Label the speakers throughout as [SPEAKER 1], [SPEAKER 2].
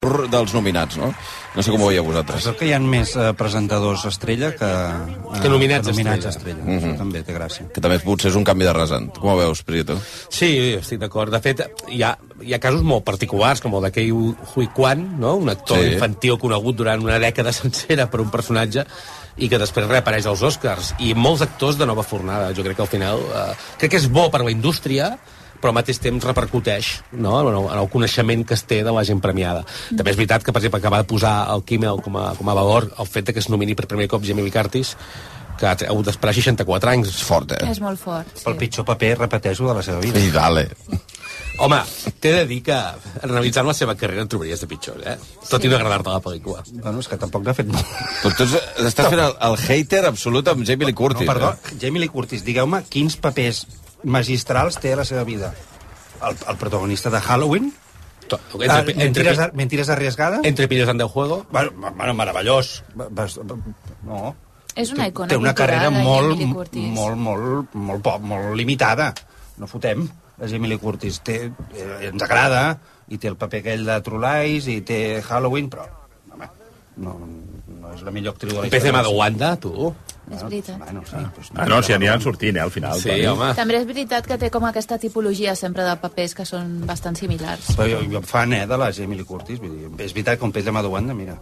[SPEAKER 1] tour dels nominats, no? No sé com ho veieu vosaltres.
[SPEAKER 2] Sort que hi ha més eh, presentadors estrella que, eh,
[SPEAKER 3] Que nominats
[SPEAKER 2] nominats
[SPEAKER 3] estrella.
[SPEAKER 2] estrella. Això també té gràcia.
[SPEAKER 1] Que també potser és un canvi de rasant. Com ho veus, Prieto?
[SPEAKER 3] Sí, estic d'acord. De fet, hi ha, hi ha casos molt particulars, com el de Kei Hui Kwan, no? un actor
[SPEAKER 1] Sí.
[SPEAKER 3] sí. infantil conegut durant una dècada sencera per un personatge i que després reapareix als Oscars. I molts actors de nova fornada. Jo crec que al final... Eh, crec que és bo per la indústria, però al mateix temps repercuteix no? en, el, en el coneixement que es té de la gent premiada. També és veritat que, per exemple, acaba de posar el Kimmel com a, com a valor el fet de que es nomini per primer cop Jamie Lee Curtis, que ha hagut d'esperar 64 anys
[SPEAKER 1] És fort, eh?
[SPEAKER 4] És molt fort.
[SPEAKER 2] Pel pitjor paper, repeteixo, de la seva vida.
[SPEAKER 1] I dale.
[SPEAKER 3] Home, t'he de dir que analitzant la seva carrera en trobaries de pitjor, eh? Tot sí. i no agradar-te la pel·lícula.
[SPEAKER 2] Bueno, és que tampoc n'ha fet molt.
[SPEAKER 1] Però tu estàs fent el, el hater absolut amb Jamie Lee Curtis.
[SPEAKER 2] No, perdó,
[SPEAKER 1] Eh?
[SPEAKER 2] Jamie Lee Curtis, digueu-me quins papers magistrals té a la seva vida. El, el protagonista de Halloween?
[SPEAKER 3] To-
[SPEAKER 2] Entre, ah,
[SPEAKER 3] Entre,
[SPEAKER 2] mentides,
[SPEAKER 3] entre,
[SPEAKER 2] entre, mentides arriesgades? Entre,
[SPEAKER 3] entre pillos anda el juego.
[SPEAKER 2] bueno, ma- bueno, meravellós. Va- vas- va- No.
[SPEAKER 4] És una icona
[SPEAKER 2] Té una
[SPEAKER 4] cultural,
[SPEAKER 2] carrera
[SPEAKER 4] la
[SPEAKER 2] molt,
[SPEAKER 4] Jamie Lee Curtis.
[SPEAKER 2] molt, molt, molt, poc, molt limitada. No fotem. La Jamie Lee Curtis té, eh, ens agrada, i té el paper aquell de True Lies, i té Halloween, però, home, no, no és la millor actriu de la
[SPEAKER 3] Empecem a de Wanda, tu.
[SPEAKER 4] És veritat.
[SPEAKER 2] Bueno, sí, doncs,
[SPEAKER 5] Ah, no, si aniran sortint, eh, al final.
[SPEAKER 3] Sí,
[SPEAKER 5] Toni.
[SPEAKER 3] home.
[SPEAKER 4] També és veritat que té com aquesta tipologia sempre de papers que són bastant similars.
[SPEAKER 2] Però jo, jo em fan, eh, de la Jamie Lee Curtis. Vull dir, és veritat que un peix de Madouanda, mira,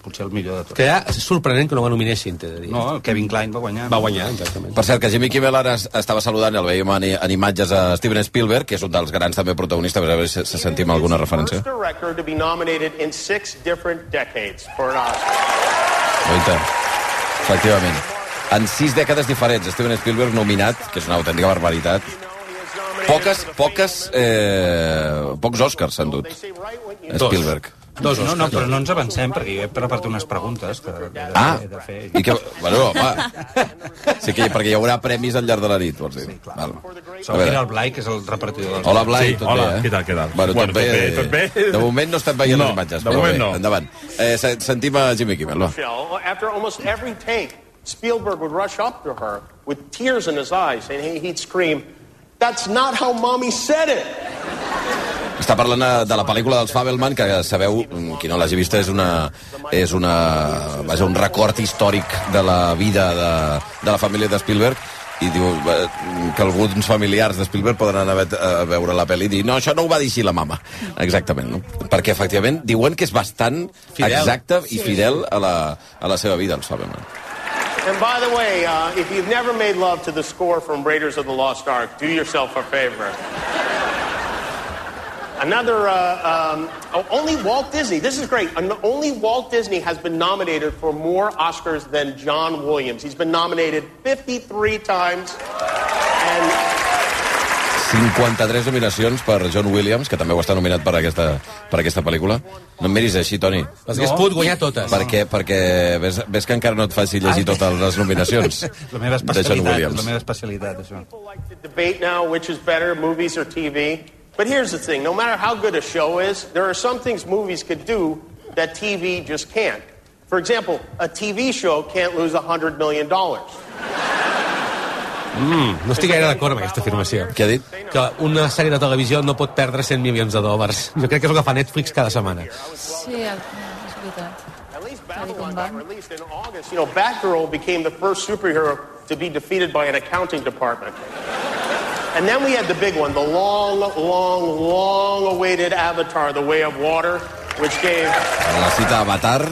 [SPEAKER 2] potser el millor de tot.
[SPEAKER 3] Que ja és sorprenent que no la nominessin, t'he de dir.
[SPEAKER 2] No, el Kevin Klein va guanyar.
[SPEAKER 3] Va guanyar, exactament.
[SPEAKER 1] Per cert, que Jimmy Kimmel ara es- estava saludant, el veiem en, en imatges a Steven Spielberg, que és un dels grans també protagonistes, a veure si se sentim alguna referència.
[SPEAKER 6] First director to be nominated in six different decades for an Oscar.
[SPEAKER 1] Oita. Efectivament. En sis dècades diferents, Steven Spielberg nominat, que és una autèntica barbaritat. Poques, poques, eh, pocs Oscars s'han dut. Spielberg.
[SPEAKER 2] Dos, no, no, però no ens avancem, perquè jo he preparat unes preguntes que he de,
[SPEAKER 1] Ah,
[SPEAKER 2] he de fer.
[SPEAKER 1] i que... Bueno, home. Sí que, perquè hi haurà premis al llarg de la nit, vols dir. Sí, Val. A
[SPEAKER 2] Segur que era
[SPEAKER 1] veure.
[SPEAKER 2] el Blai, que és el repartidor dels...
[SPEAKER 1] Hola, Blai,
[SPEAKER 5] Sí,
[SPEAKER 1] tot
[SPEAKER 5] hola,
[SPEAKER 1] bé, eh?
[SPEAKER 5] què tal, què tal?
[SPEAKER 1] Bueno,
[SPEAKER 5] Bueno,
[SPEAKER 1] tot,
[SPEAKER 5] tot
[SPEAKER 1] bé,
[SPEAKER 5] bé, tot bé.
[SPEAKER 1] De moment no estan veient
[SPEAKER 5] No,
[SPEAKER 1] les imatges,
[SPEAKER 5] de
[SPEAKER 1] però
[SPEAKER 5] moment
[SPEAKER 1] bé,
[SPEAKER 5] no.
[SPEAKER 1] endavant. Eh, se- sentim a Jimmy Kimmel, va.
[SPEAKER 6] Michelle, after almost every take, Spielberg would rush up to her with tears in his eyes, and he- he'd scream, "That's not how mommy said it."
[SPEAKER 1] Està parlant eh, de la pel·lícula dels Fabelman, que sabeu, mm, qui no l'hagi vista, és una, és una, vaja, un record històric de la vida de, de la família de Spielberg, i diu eh, que alguns familiars de Spielberg poden anar a, vet- a veure la pel·li i dir no, això no ho va dir així la mama. Exactament, no? Perquè, efectivament, diuen que és bastant
[SPEAKER 3] Fidel.
[SPEAKER 1] exacte i fidel a la, a la seva vida, el Fabelman.
[SPEAKER 6] And by the way, uh, if you've never made love to the score from Raiders of the Lost Ark, do yourself a favor. Another, uh, um, oh, only Walt Disney. This is great. An- only Walt Disney has been nominated for more Oscars than John Williams. He's been nominated 53 times. And
[SPEAKER 1] 53 nominacions per John Williams, que també ho està nominat per aquesta, per aquesta pel·lícula. No em miris així, Toni.
[SPEAKER 3] Les hagués pogut guanyar totes.
[SPEAKER 1] Perquè, perquè ves, ves que encara no et faci llegir totes les nominacions
[SPEAKER 2] La meva
[SPEAKER 1] de John
[SPEAKER 2] especialitat, és
[SPEAKER 1] Williams.
[SPEAKER 2] la meva especialitat, això.
[SPEAKER 6] people like to debate now which is better, movies or TV. But here's the thing no matter how good a show is, there are some things movies could do that TV just can't. For example, a TV show can't lose $100 million.
[SPEAKER 3] Mm, No estic gaire d'acord amb aquesta afirmació.
[SPEAKER 1] Què ha dit?
[SPEAKER 3] Que una sèrie de televisió no pot perdre 100 milions de dòlars. Jo crec que és el que fa Netflix cada setmana.
[SPEAKER 4] Sí, el- és veritat.
[SPEAKER 6] At least
[SPEAKER 4] Babylon
[SPEAKER 6] Babylon
[SPEAKER 4] got
[SPEAKER 6] got released in August. You know, Batgirl became the first superhero to be defeated by an accounting department. And then we had the big one, the long, long, long awaited Avatar, The Way of Water, which gave
[SPEAKER 1] En la cita Avatar,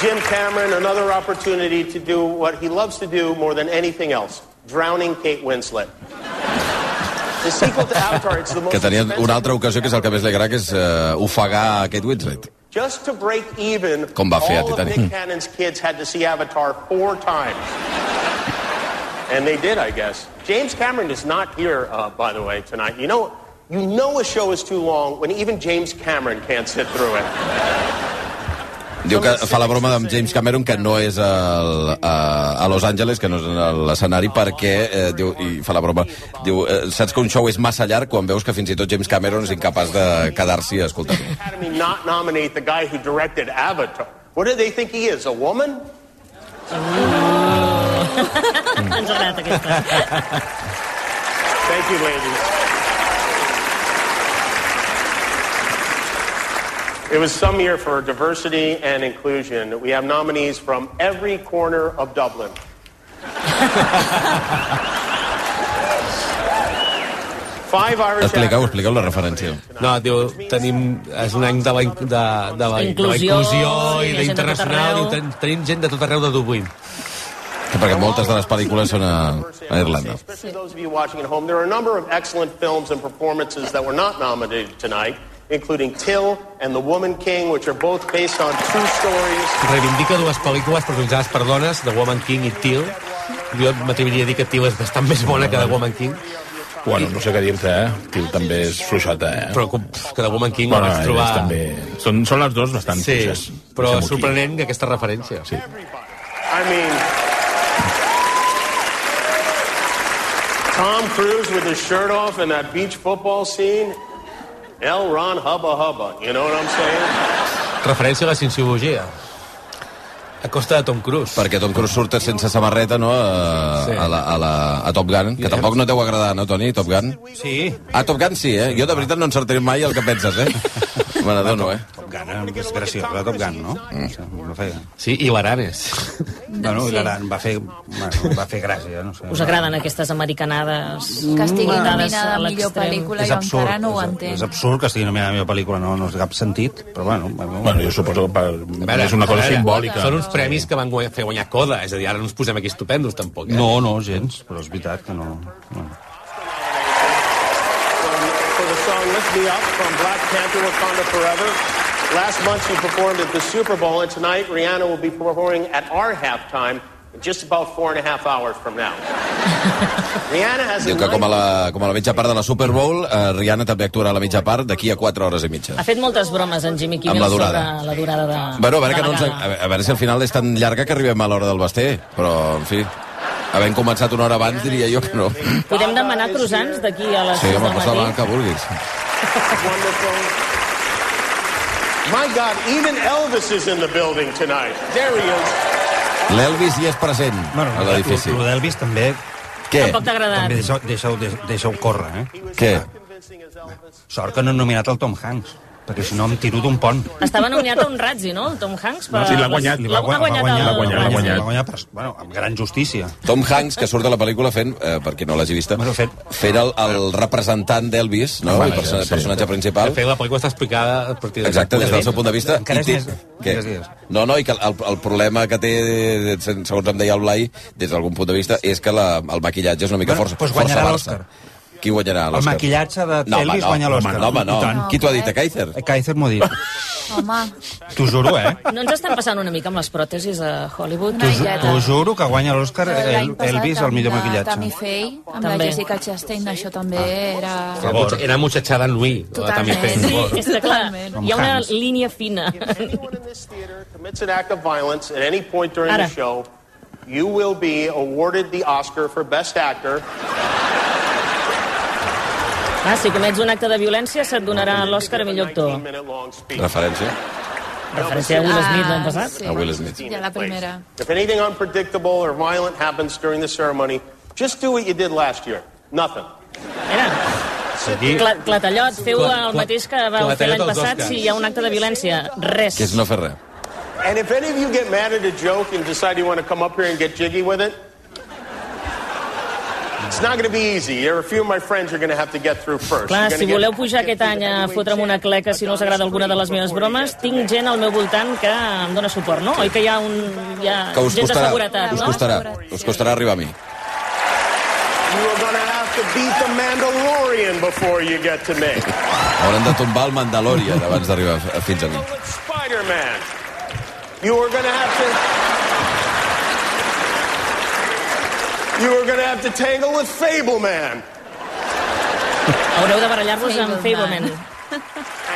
[SPEAKER 6] Jim Cameron another opportunity to do what he loves to do more than anything else drowning Kate Winslet. The sequel to Avatar, it's the most.
[SPEAKER 1] que tenia
[SPEAKER 6] expensive-
[SPEAKER 1] una altra ocasió que és el que més li agrada, que és uh, ofegar a Kate Winslet.
[SPEAKER 6] Just to break even,
[SPEAKER 1] Com va fer a
[SPEAKER 6] all of
[SPEAKER 1] Titanic.
[SPEAKER 6] Nick Cannon's kids had to see Avatar four times. and they did, I guess. James Cameron is not here, uh, by the way, tonight. You know, you know a show is too long when even James Cameron can't sit through it.
[SPEAKER 1] Diu que fa la broma d'en James Cameron que no és el, a, a Los Angeles, que no és a l'escenari, perquè, eh, diu, i fa la broma, diu, eh, saps que un show és massa llarg quan veus que fins i tot James Cameron és incapaç de quedar-s'hi a escoltar-lo.
[SPEAKER 6] Academy not nominate the guy who directed Avatar? What do they think he is, a woman?
[SPEAKER 7] Ens ha agradat aquesta.
[SPEAKER 6] Thank you, ladies. It was some year for diversity and inclusion. We have nominees from every corner of Dublin. Five Irish
[SPEAKER 1] Expliqueu,
[SPEAKER 6] actors-
[SPEAKER 1] expliqueu la referència.
[SPEAKER 3] No, diu, tenim, és un any de la, in- de, de, la, de la
[SPEAKER 7] Inclusió,
[SPEAKER 3] inclusió i
[SPEAKER 7] hi ha gent de tot
[SPEAKER 3] d'internacional,
[SPEAKER 7] arreu.
[SPEAKER 3] i ten, tenim gent de tot arreu de Dublín.
[SPEAKER 1] Que perquè moltes de les pel·lícules són a, a Irlanda.
[SPEAKER 6] Especially those of you watching at home, there are a number of excellent films and performances that were not nominated tonight, including Till and The Woman King, which are both based on true stories.
[SPEAKER 3] Reivindica dues pel·lícules protagonitzades per dones, The Woman King i Till. Jo m'atreviria a dir que Till és bastant més bona que The Woman King,
[SPEAKER 5] Bueno, no sé què dir-te, eh? Tio, també és fluixota, eh?
[SPEAKER 3] però com- pff, que The Woman King
[SPEAKER 5] bueno,
[SPEAKER 3] la vaig trobar...
[SPEAKER 5] ells també... Són, són les dues bastant
[SPEAKER 3] Sí,
[SPEAKER 5] fluixes.
[SPEAKER 3] però
[SPEAKER 5] Deixem-ho aquí.
[SPEAKER 3] sorprenent que aquesta referència. Sí.
[SPEAKER 6] I mean, Tom Cruise with his shirt off in that beach football scene. L. Ron Hubba Hubba, you know what I'm saying?
[SPEAKER 3] Referència a la cienciologia. A costa de Tom Cruise.
[SPEAKER 1] Perquè Tom Cruise surt sense samarreta, no?, a,
[SPEAKER 3] Sí.
[SPEAKER 1] a, la, a, la, a Top Gun, que tampoc no et deu agradar, no, Toni, Top Gun?
[SPEAKER 2] Sí,
[SPEAKER 1] A Top Gun sí, eh? Jo de veritat no encertaré mai el que penses, eh? Me n'adono, eh?
[SPEAKER 2] Top Gun, eh? desgració, la Top Gun, no? Mm. Va fer...
[SPEAKER 3] Sí, i l'Aranes.
[SPEAKER 2] Bueno,
[SPEAKER 4] sí.
[SPEAKER 2] sí. l'Aran va fer, bueno, va fer gràcia, no sé.
[SPEAKER 7] Us agraden aquestes americanades?
[SPEAKER 4] Que estigui
[SPEAKER 7] Dades a
[SPEAKER 4] nominada a millor
[SPEAKER 7] l'extrem.
[SPEAKER 4] pel·lícula i encara no ho
[SPEAKER 2] és, és
[SPEAKER 4] entenc.
[SPEAKER 2] absurd que estigui nominada a la meva pel·lícula, no, no és cap sentit, però bueno... bueno,
[SPEAKER 5] Bueno, jo suposo que per... és una cosa
[SPEAKER 3] A veure,
[SPEAKER 5] simbòlica.
[SPEAKER 3] Són uns premis que van guanyar, fer guanyar coda, és a dir, ara no ens posem aquí estupendos, tampoc. Eh?
[SPEAKER 2] No, no, gens, però és veritat que no... no.
[SPEAKER 6] From, for Um, the song Let's Be Up from Black Panther Wakanda Forever. Last month she performed at the Super Bowl, and tonight Rihanna will be performing at our halftime in just about four and a half hours from now. Rihanna has a
[SPEAKER 1] Diu que com a
[SPEAKER 6] nine-
[SPEAKER 1] la, com a la mitja part de la Super Bowl, eh, Rihanna també actuarà a la mitja part d'aquí a 4 hores i mitja.
[SPEAKER 7] Ha fet moltes bromes en Jimmy Kimmel
[SPEAKER 1] Amb la durada.
[SPEAKER 7] sobre la durada de,
[SPEAKER 1] Bueno, a veure,
[SPEAKER 7] de
[SPEAKER 1] que
[SPEAKER 7] la
[SPEAKER 1] no ens,
[SPEAKER 7] gala.
[SPEAKER 1] a veure- a veure si al final és tan llarga que arribem a l'hora del basté, però, en fi, havent començat una hora abans diria jo que no.
[SPEAKER 7] Podem demanar croissants d'aquí a les
[SPEAKER 1] Sí,
[SPEAKER 7] 6
[SPEAKER 1] home,
[SPEAKER 7] del
[SPEAKER 1] pots demanar el
[SPEAKER 7] matí?
[SPEAKER 1] que vulguis.
[SPEAKER 6] wonderful. My God, even Elvis is in the building tonight. There he is.
[SPEAKER 1] L'Elvis hi és present, a l'edifici.
[SPEAKER 2] El d'Elvis també,
[SPEAKER 1] Què?
[SPEAKER 7] Tampoc t'ha agradat.
[SPEAKER 2] també deixa-ho deixa, deixa, deixa córrer, eh?
[SPEAKER 1] Què?
[SPEAKER 6] Convincing as Elvis.
[SPEAKER 2] Sort que no han nominat el Tom Hanks, perquè si no em tiro d'un pont.
[SPEAKER 7] Estava nominat a un Razzie, no? El Tom Hanks? Per...
[SPEAKER 5] sí, l'ha guanyat,
[SPEAKER 2] Li
[SPEAKER 7] L'ha
[SPEAKER 2] gua-
[SPEAKER 7] guanyat,
[SPEAKER 2] l'ha
[SPEAKER 7] el-
[SPEAKER 5] guanyat, l'ha guanyat.
[SPEAKER 2] L'ha guanyat, però, bueno, amb gran justícia.
[SPEAKER 1] Tom Hanks, que surt de la pel·lícula fent, eh, per qui no l'hagi vista,
[SPEAKER 2] Bueno, fent-
[SPEAKER 1] fent el, el representant d'Elvis, no? el perso
[SPEAKER 5] sí.
[SPEAKER 1] personatge
[SPEAKER 3] De
[SPEAKER 1] principal.
[SPEAKER 3] fet, la pel·lícula està explicada a partir d'aquest
[SPEAKER 1] Exacte,
[SPEAKER 3] punt
[SPEAKER 1] des del seu punt de vista.
[SPEAKER 2] Encara
[SPEAKER 1] i
[SPEAKER 2] és
[SPEAKER 1] té-
[SPEAKER 2] més-
[SPEAKER 1] Què?
[SPEAKER 2] digues, digues.
[SPEAKER 1] No, no, i que el, el problema que té, eh, segons em deia el Blai, des d'algun punt de vista, és que la, el maquillatge és una mica
[SPEAKER 2] Bueno,
[SPEAKER 1] força,
[SPEAKER 2] doncs
[SPEAKER 1] força
[SPEAKER 2] guanyarà
[SPEAKER 1] barça. Qui guanyarà
[SPEAKER 2] El
[SPEAKER 1] l'Òscar?
[SPEAKER 2] maquillatge de
[SPEAKER 1] No, home,
[SPEAKER 2] Elvis
[SPEAKER 1] no,
[SPEAKER 2] guanya l'Òscar.
[SPEAKER 1] No, home, no.
[SPEAKER 2] I tant.
[SPEAKER 1] Qui t'ho ha dit, a Kaiser?
[SPEAKER 2] Eh, Kaiser m'ho ha dit.
[SPEAKER 4] Home,
[SPEAKER 2] T'ho juro, eh?
[SPEAKER 7] No ens estan passant una mica amb les pròtesis a Hollywood?
[SPEAKER 4] Una
[SPEAKER 2] T'ho ju-
[SPEAKER 4] illeta.
[SPEAKER 2] T'ho juro que guanya l'Òscar
[SPEAKER 4] l'any
[SPEAKER 2] el,
[SPEAKER 4] passat
[SPEAKER 2] Elvis el
[SPEAKER 4] amb
[SPEAKER 2] millor
[SPEAKER 4] la
[SPEAKER 2] maquillatge.
[SPEAKER 4] Tammy Faye, amb
[SPEAKER 7] També.
[SPEAKER 4] la Jessica Chastain, això també
[SPEAKER 2] Ah.
[SPEAKER 4] era...
[SPEAKER 3] Era mutxa- Era mutxatxada en Ui, la Tammy
[SPEAKER 4] Totalment.
[SPEAKER 3] Faye.
[SPEAKER 7] Sí,
[SPEAKER 3] Sí.
[SPEAKER 7] és que clar,
[SPEAKER 4] Totalment.
[SPEAKER 7] hi ha una
[SPEAKER 2] Tom Hanks.
[SPEAKER 7] línia fina.
[SPEAKER 6] If anyone in this theater commits an act of violence at any point during
[SPEAKER 7] Ara.
[SPEAKER 6] the show, you will be awarded the Oscar for Best Actor.
[SPEAKER 7] Ah, si comets un acte de violència se't donarà l'Òscar a millor actor.
[SPEAKER 6] 19-minute long speech.
[SPEAKER 1] Referència
[SPEAKER 7] Referència a Will Smith l'any passat.
[SPEAKER 4] sí.
[SPEAKER 1] a Will Smith.
[SPEAKER 4] Ja la primera.
[SPEAKER 6] If anything unpredictable or violent happens during the ceremony, just do what you did last year. Nothing.
[SPEAKER 7] Era. Cla Clatellot, feu
[SPEAKER 3] Cla-
[SPEAKER 7] el
[SPEAKER 3] Cla-
[SPEAKER 7] mateix que vau fer
[SPEAKER 3] Clatellot
[SPEAKER 7] l'any
[SPEAKER 3] als
[SPEAKER 7] passat
[SPEAKER 3] Oscars.
[SPEAKER 7] si hi ha un acte de violència. Res.
[SPEAKER 1] Que és no fer res.
[SPEAKER 6] And if any of you get mad at a joke and decide you want to come up here and get jiggy with it, it's not going to be easy. There are a few of my friends you're going to have to get through first.
[SPEAKER 7] Clar,
[SPEAKER 6] You're gonna
[SPEAKER 7] si
[SPEAKER 6] get-
[SPEAKER 7] voleu pujar aquest
[SPEAKER 6] get
[SPEAKER 7] any a
[SPEAKER 6] through the
[SPEAKER 7] fotre'm una cleca si no us agrada alguna de les meves bromes, tinc gent al meu voltant que em dona suport, no? Oi que hi ha, un, hi ha
[SPEAKER 1] Que us
[SPEAKER 7] gent de
[SPEAKER 1] costarà,
[SPEAKER 7] seguretat,
[SPEAKER 1] us
[SPEAKER 7] no?
[SPEAKER 1] costarà, us costarà arribar a mi.
[SPEAKER 6] You are going to have to beat the Mandalorian before you get to me.
[SPEAKER 1] Hauran de tombar el Mandalorian abans d'arribar f- fins a mi.
[SPEAKER 6] With Spider-Man. You are going to have to... You are going to have to tangle with Fableman.
[SPEAKER 7] Haureu de barallar-vos amb Fableman.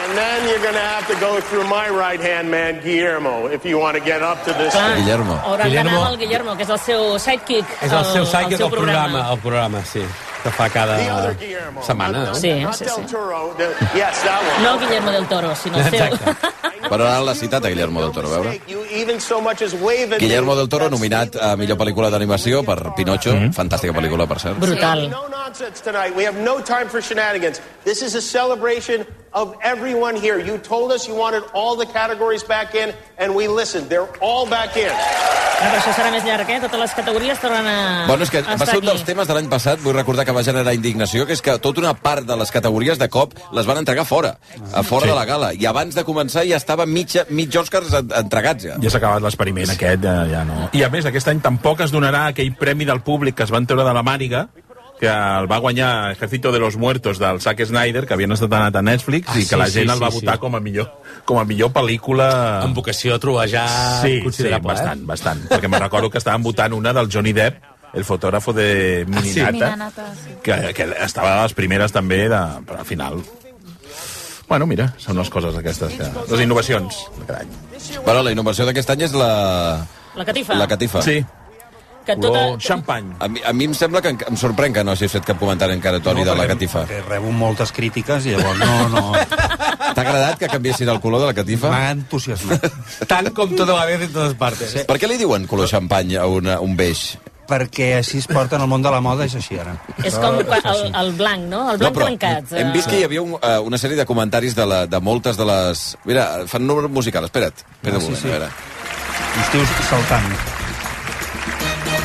[SPEAKER 6] And then you're going to have to go through my right-hand man, Guillermo, if you want to get up to this.
[SPEAKER 7] Clar,
[SPEAKER 1] Guillermo.
[SPEAKER 7] Hauran d'anar
[SPEAKER 3] Guillermo.
[SPEAKER 7] amb el Guillermo, que és el seu sidekick.
[SPEAKER 3] És el seu
[SPEAKER 7] al
[SPEAKER 3] psychic
[SPEAKER 7] seu
[SPEAKER 3] del programa, el programa, sí, que fa cada
[SPEAKER 6] The other Guillermo.
[SPEAKER 3] setmana, no?
[SPEAKER 7] Sí,
[SPEAKER 6] Not
[SPEAKER 7] sí,
[SPEAKER 6] Del
[SPEAKER 7] sí.
[SPEAKER 6] Toro. The, yes, that one.
[SPEAKER 7] No Guillermo del Toro, sinó el seu.
[SPEAKER 3] Exacte.
[SPEAKER 1] Però ara l'ha citat a Guillermo del Toro, a veure.
[SPEAKER 6] You even so much as wave at me.
[SPEAKER 5] Mm.
[SPEAKER 1] Guillermo del Toro, nominat a millor pel·lícula d'animació per Pinocho, fantàstica pel·lícula, per cert.
[SPEAKER 7] Brutal.
[SPEAKER 6] No knock nonsense tonight. We have no time for shenanigans. This is a celebration of everyone here. You told us you wanted all the categories back in, and we listened. They're all back in.
[SPEAKER 7] No, però això serà més llarg, eh? Totes les categories tornen a
[SPEAKER 1] Bueno, és que
[SPEAKER 7] a
[SPEAKER 1] va
[SPEAKER 7] estar
[SPEAKER 1] ser un dels
[SPEAKER 7] Ah, aquí.
[SPEAKER 1] temes de l'any passat, vull recordar que va generar indignació, que és que tota una part de les categories de cop les van entregar fora, a fora de la gala. I abans de començar ja estava mitja, mig Oscars en- entregats ja.
[SPEAKER 5] Ja s'ha acabat l'experiment aquest, ja, ja no. I a més, aquest any tampoc es donarà aquell premi del públic que es van treure de la màniga, que el va guanyar Ejército de los Muertos del Zack Snyder, que havien estat anat a Netflix,
[SPEAKER 3] Ah,
[SPEAKER 5] i que la
[SPEAKER 3] sí,
[SPEAKER 5] gent
[SPEAKER 3] sí,
[SPEAKER 5] el va
[SPEAKER 3] sí,
[SPEAKER 5] votar
[SPEAKER 3] sí.
[SPEAKER 5] com a millor, com a millor pel·lícula...
[SPEAKER 3] Amb vocació trobejar
[SPEAKER 5] sí, sí,
[SPEAKER 3] considerable,
[SPEAKER 5] bastant,
[SPEAKER 3] eh?
[SPEAKER 5] bastant. Perquè me recordo que estaven votant una del Johnny Depp, el fotògrafo de Mininata,
[SPEAKER 4] Minanata, sí.
[SPEAKER 5] que, que estava a les primeres també, de, però al final... Bueno, mira, són les coses aquestes que... Les innovacions de cada any.
[SPEAKER 1] Bueno, la innovació d'aquest any és la...
[SPEAKER 7] La catifa.
[SPEAKER 1] La catifa.
[SPEAKER 5] Sí,
[SPEAKER 7] Que tota...
[SPEAKER 5] color xampany.
[SPEAKER 1] A mi, a mi em sembla que en, em sorprèn que no hagis fet cap comentari encara, Toni, de la
[SPEAKER 2] perquè-
[SPEAKER 1] catifa.
[SPEAKER 2] Perquè Eh, rebo moltes crítiques i llavors no, no.
[SPEAKER 1] T'ha agradat que canviessin el color de la catifa?
[SPEAKER 2] M'ha entusiasmat.
[SPEAKER 3] Tant com tota la vez en totes partes.
[SPEAKER 1] Per què li diuen color xampany a una, un beix?
[SPEAKER 2] perquè així es porta en el món de la moda, és així ara.
[SPEAKER 7] És com
[SPEAKER 1] Ah,
[SPEAKER 7] quan- el, el blanc, no? El blanc no, trencat. Ah.
[SPEAKER 1] hem vist que hi havia un, eh, una sèrie de comentaris de, la, de moltes de les... Mira, fan número musical, espera't. Espera
[SPEAKER 2] Ah,
[SPEAKER 1] un
[SPEAKER 2] sí,
[SPEAKER 1] moment,
[SPEAKER 2] sí.
[SPEAKER 1] a veure.
[SPEAKER 2] Uns tios saltant.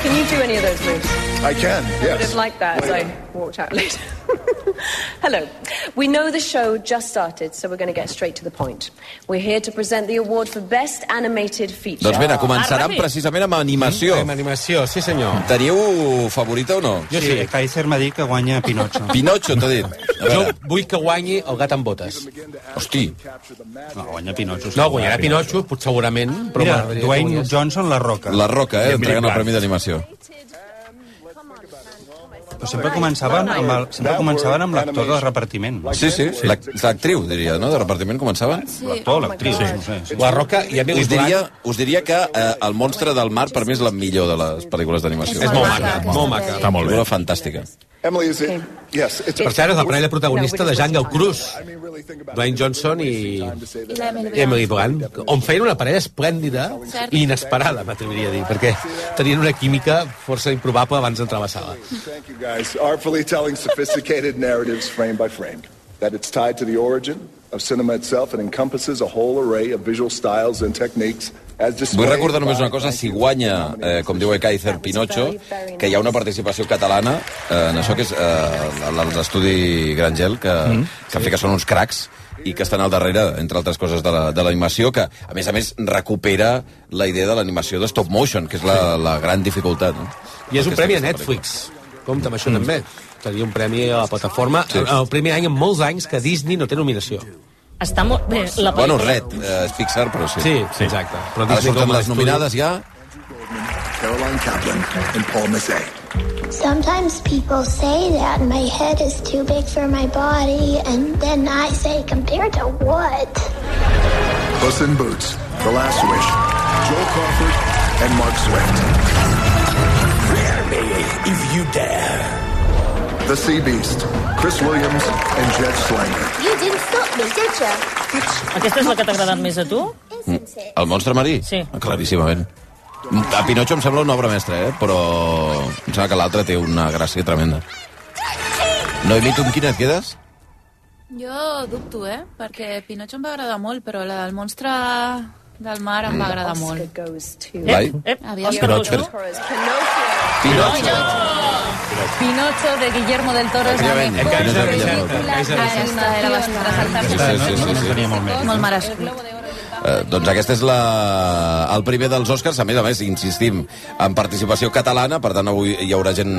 [SPEAKER 8] Can you do any of those moves?
[SPEAKER 9] I can,
[SPEAKER 8] I would have
[SPEAKER 9] yes.
[SPEAKER 8] liked that as I walked out later. Hello. We know the show just started, so we're going to get straight to the point. We're here to present the award for Best Animated Feature.
[SPEAKER 1] Doncs mira,
[SPEAKER 8] Ah,
[SPEAKER 1] començaran
[SPEAKER 7] ràpid.
[SPEAKER 1] precisament amb animació.
[SPEAKER 3] Amb animació, sí senyor.
[SPEAKER 1] Teniu favorita o no?
[SPEAKER 3] Jo sí.
[SPEAKER 2] Kaiser m'ha dit que guanya Pinocho.
[SPEAKER 1] Pinocho, t'ha dit. A
[SPEAKER 3] Jo
[SPEAKER 1] veure,
[SPEAKER 3] vull que guanyi el gat amb botes.
[SPEAKER 1] hosti,
[SPEAKER 2] No, guanya Pinocho.
[SPEAKER 3] No, guanyarà Pinocho, pot, segurament, però...
[SPEAKER 2] Mira,
[SPEAKER 3] m'agradaria que
[SPEAKER 2] Dwayne
[SPEAKER 3] guanyés.
[SPEAKER 2] Johnson, La Roca.
[SPEAKER 1] la Roca, eh,
[SPEAKER 5] Emily
[SPEAKER 1] entregant el
[SPEAKER 5] Blunt.
[SPEAKER 1] Premi d'Animació.
[SPEAKER 2] Però sempre començaven amb el- sempre començaven amb l'actor de repartiment.
[SPEAKER 1] Sí, sí, l'ac- l'actriu, diria, no? De repartiment començaven.
[SPEAKER 2] L'actor, l'actriu, no sé. sí.
[SPEAKER 3] La Roca i Emily
[SPEAKER 1] Us diria,
[SPEAKER 3] Blunt.
[SPEAKER 1] us diria que eh, El monstre del mar per mi és la millor de les pel·lícules d'animació.
[SPEAKER 4] És
[SPEAKER 3] És molt
[SPEAKER 4] Maca,
[SPEAKER 3] maca,
[SPEAKER 4] aquesta
[SPEAKER 3] molt
[SPEAKER 4] peli.
[SPEAKER 3] maca.
[SPEAKER 5] Està molt bé.
[SPEAKER 1] Figura fantàstica.
[SPEAKER 9] Emily, is it?
[SPEAKER 8] Okay.
[SPEAKER 9] Yes, it's.
[SPEAKER 3] Per cert, és la parella protagonista de Jungle Cruz,
[SPEAKER 9] I mean, really think about
[SPEAKER 3] Dwayne
[SPEAKER 9] it.
[SPEAKER 3] Johnson i
[SPEAKER 4] I la Emily Blunt.
[SPEAKER 3] Emily Blunt, on feien una parella esplèndida
[SPEAKER 4] Cert.
[SPEAKER 3] i inesperada, m'atreviria a dir, perquè tenien una química força improbable abans d'entrar a la sala.
[SPEAKER 9] Thank you, guys. Artfully telling sophisticated narratives frame by frame. That it's tied to the origin of cinema itself and encompasses a whole array of visual styles and techniques as
[SPEAKER 1] Vull
[SPEAKER 9] displayed
[SPEAKER 1] recordar només
[SPEAKER 9] by-
[SPEAKER 1] una cosa, si guanya, eh, com diu Ekaizer Pinocho, que hi ha una participació catalana eh, en això que és eh, el- els estudi Grangel, que, que en fi que són uns cracs i que estan al darrere, entre altres coses, de la- de l'animació, que, a més a més, recupera la idea de l'animació de stop motion, que és la, la gran dificultat. No?
[SPEAKER 3] I és un
[SPEAKER 1] Aquesta-
[SPEAKER 3] premi a
[SPEAKER 1] aquesta
[SPEAKER 3] Netflix. Compte
[SPEAKER 1] Mm.
[SPEAKER 3] amb això també. Tenia un premi a la plataforma. eh, El primer any en molts anys que Disney no té nominació.
[SPEAKER 7] Està molt... Bé,
[SPEAKER 1] pel·lícula.
[SPEAKER 7] la
[SPEAKER 1] Bueno,
[SPEAKER 7] pel·lícula-
[SPEAKER 1] Red, eh, és Pixar, però sí.
[SPEAKER 3] Sí, exacte. Però
[SPEAKER 1] Ara surten
[SPEAKER 3] com a
[SPEAKER 1] les
[SPEAKER 3] estudi-
[SPEAKER 1] nominades ja.
[SPEAKER 9] Caroline Kaplan and Paul Massey.
[SPEAKER 10] Sometimes people say that my head is too big for my body, and then I say, compared to what?
[SPEAKER 9] Puss in Boots, The Last Wish, Joel Crawford, and Mark Swift. if you dare. The Sea Beast, Chris Williams, and Jed Slanger.
[SPEAKER 10] You didn't stop me, did you?
[SPEAKER 7] Aquesta és la que t'ha agradat més a tu?
[SPEAKER 10] Isn't it?
[SPEAKER 1] El monstre marí? Ah,
[SPEAKER 7] Sí.
[SPEAKER 1] Claríssimament. A Pinocho em sembla una obra mestra, eh? però em sembla que l'altra té una gràcia tremenda. Noemí, tu amb quina et quedes?
[SPEAKER 4] Jo dubto, eh? Perquè Pinocho em va agradar molt, però la del monstre del mar em va agradar
[SPEAKER 8] Oscar
[SPEAKER 4] molt.
[SPEAKER 8] goes to...
[SPEAKER 1] Vai?
[SPEAKER 7] Ep,
[SPEAKER 4] Aviam.
[SPEAKER 7] Òscar
[SPEAKER 1] Pinocho.
[SPEAKER 7] Gordó.
[SPEAKER 8] Torres, Pinocchio.
[SPEAKER 1] Pinocho!
[SPEAKER 11] Pinocho de Guillermo del Toro es la
[SPEAKER 1] Efectivament,
[SPEAKER 11] mejor
[SPEAKER 1] Pinocho de
[SPEAKER 11] película
[SPEAKER 1] Guillermo.
[SPEAKER 11] de animación
[SPEAKER 4] Esta era la
[SPEAKER 11] para saltarse
[SPEAKER 1] Sí, sí, sí, sí.
[SPEAKER 4] Molt mal escrit.
[SPEAKER 1] Eh, doncs aquesta és la... el primer dels Oscars, a més a més, insistim, en participació catalana, per tant avui hi haurà gent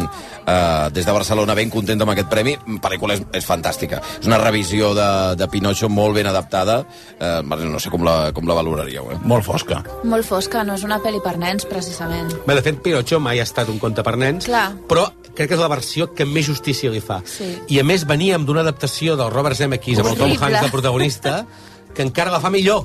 [SPEAKER 1] eh, des de Barcelona ben contenta amb aquest premi, la pel·lícula és, és fantàstica, és una revisió de, de Pinocho molt ben adaptada, eh, no sé com la, com la valoraríeu, eh?
[SPEAKER 5] Molt fosca.
[SPEAKER 4] Molt fosca, no és una pel·li per nens, precisament.
[SPEAKER 3] Bé, de fet, Pinocho mai ha estat un conte per nens,
[SPEAKER 4] Clar.
[SPEAKER 3] però crec que és la versió que més justícia li fa.
[SPEAKER 4] Sí.
[SPEAKER 3] I a més veníem d'una adaptació del Robert Zemeckis amb el Tom
[SPEAKER 4] Horrible.
[SPEAKER 3] Hanks de protagonista, que encara la fa millor.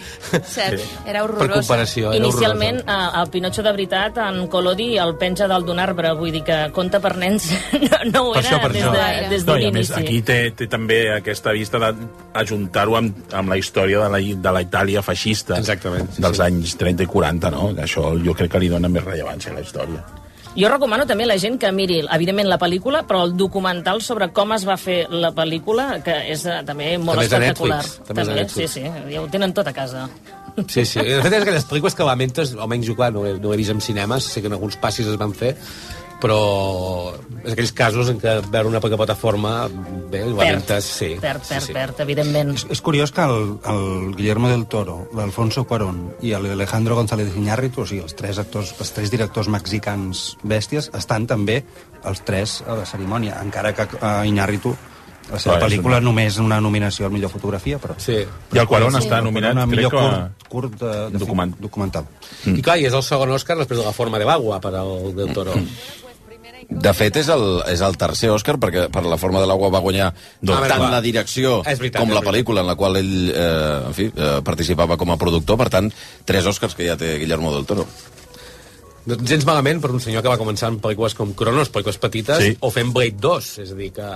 [SPEAKER 4] Cert, era
[SPEAKER 3] Per
[SPEAKER 4] horrorosa.
[SPEAKER 3] comparació, era
[SPEAKER 7] Inicialment,
[SPEAKER 3] horrorosa.
[SPEAKER 7] eh, el Pinotxo de veritat, en Colodi el penja dalt d'un arbre, vull dir que conta per nens no, no ho
[SPEAKER 5] Per
[SPEAKER 7] era
[SPEAKER 5] això, per
[SPEAKER 7] des,
[SPEAKER 5] això.
[SPEAKER 7] de, des
[SPEAKER 5] No,
[SPEAKER 7] d'un
[SPEAKER 5] i a més,
[SPEAKER 7] inici.
[SPEAKER 5] aquí té, té també aquesta vista d'ajuntar-ho amb, amb la història de la, de la Itàlia feixista
[SPEAKER 3] Exactament, sí,
[SPEAKER 5] dels
[SPEAKER 3] sí.
[SPEAKER 5] anys 30 i 40, no? Que això jo crec que li dona més rellevància a la història.
[SPEAKER 7] Jo recomano també a la gent que miri, evidentment, la pel·lícula, però el documental sobre com es va fer la pel·lícula, que és eh, també molt
[SPEAKER 3] També és a
[SPEAKER 7] espectacular.
[SPEAKER 3] Netflix, també és a
[SPEAKER 7] sí,
[SPEAKER 3] Netflix.
[SPEAKER 7] sí, ja ho tenen tot a casa.
[SPEAKER 3] Sí, sí. De fet, és aquelles pel·lícules que lamentes, almenys jo, clar, no, he- no he vist en cinemes, sé que en alguns passis es van fer, però és aquells casos en què veure una poca plataforma, bé, ho lamentes, sí.
[SPEAKER 7] Perd, perd,
[SPEAKER 3] sí, sí.
[SPEAKER 7] perd, evidentment.
[SPEAKER 2] És curiós que el, el Guillermo del Toro, l'Alfonso Cuarón i l'Alejandro González Iñárritu, o sigui, els tres, actors, els tres directors mexicans bèsties, estan també els tres a la cerimònia, encara que a Iñárritu la seva
[SPEAKER 5] Clar, és
[SPEAKER 2] pel·lícula
[SPEAKER 5] una-
[SPEAKER 2] només una nominació al millor fotografia, però...
[SPEAKER 3] Sí.
[SPEAKER 5] I el Cuarón està nominat,
[SPEAKER 2] a
[SPEAKER 5] crec
[SPEAKER 2] millor
[SPEAKER 5] que... a-
[SPEAKER 2] curt, curt de, de
[SPEAKER 5] Document.
[SPEAKER 2] fi- documental.
[SPEAKER 3] I clar, i és el segon Òscar després de la forma de l'agua per al Del Toro.
[SPEAKER 1] Mm-hmm. De fet, és el, és el tercer Òscar, perquè per la forma de l'aigua va guanyar
[SPEAKER 3] Ah,
[SPEAKER 1] doncs,
[SPEAKER 3] bé,
[SPEAKER 1] tant
[SPEAKER 3] clar.
[SPEAKER 1] la direcció
[SPEAKER 3] És veritat,
[SPEAKER 1] com
[SPEAKER 3] és
[SPEAKER 1] la
[SPEAKER 3] veritat.
[SPEAKER 1] pel·lícula en la qual ell eh, en fi, eh, participava com a productor. Per tant, tres Òscars que ja té Guillermo del Toro.
[SPEAKER 3] Doncs gens malament per un senyor que va començar amb pel·lícules com Cronos, pel·lícules petites,
[SPEAKER 1] Sí.
[SPEAKER 3] sí. o fent Blade 2, és a dir, que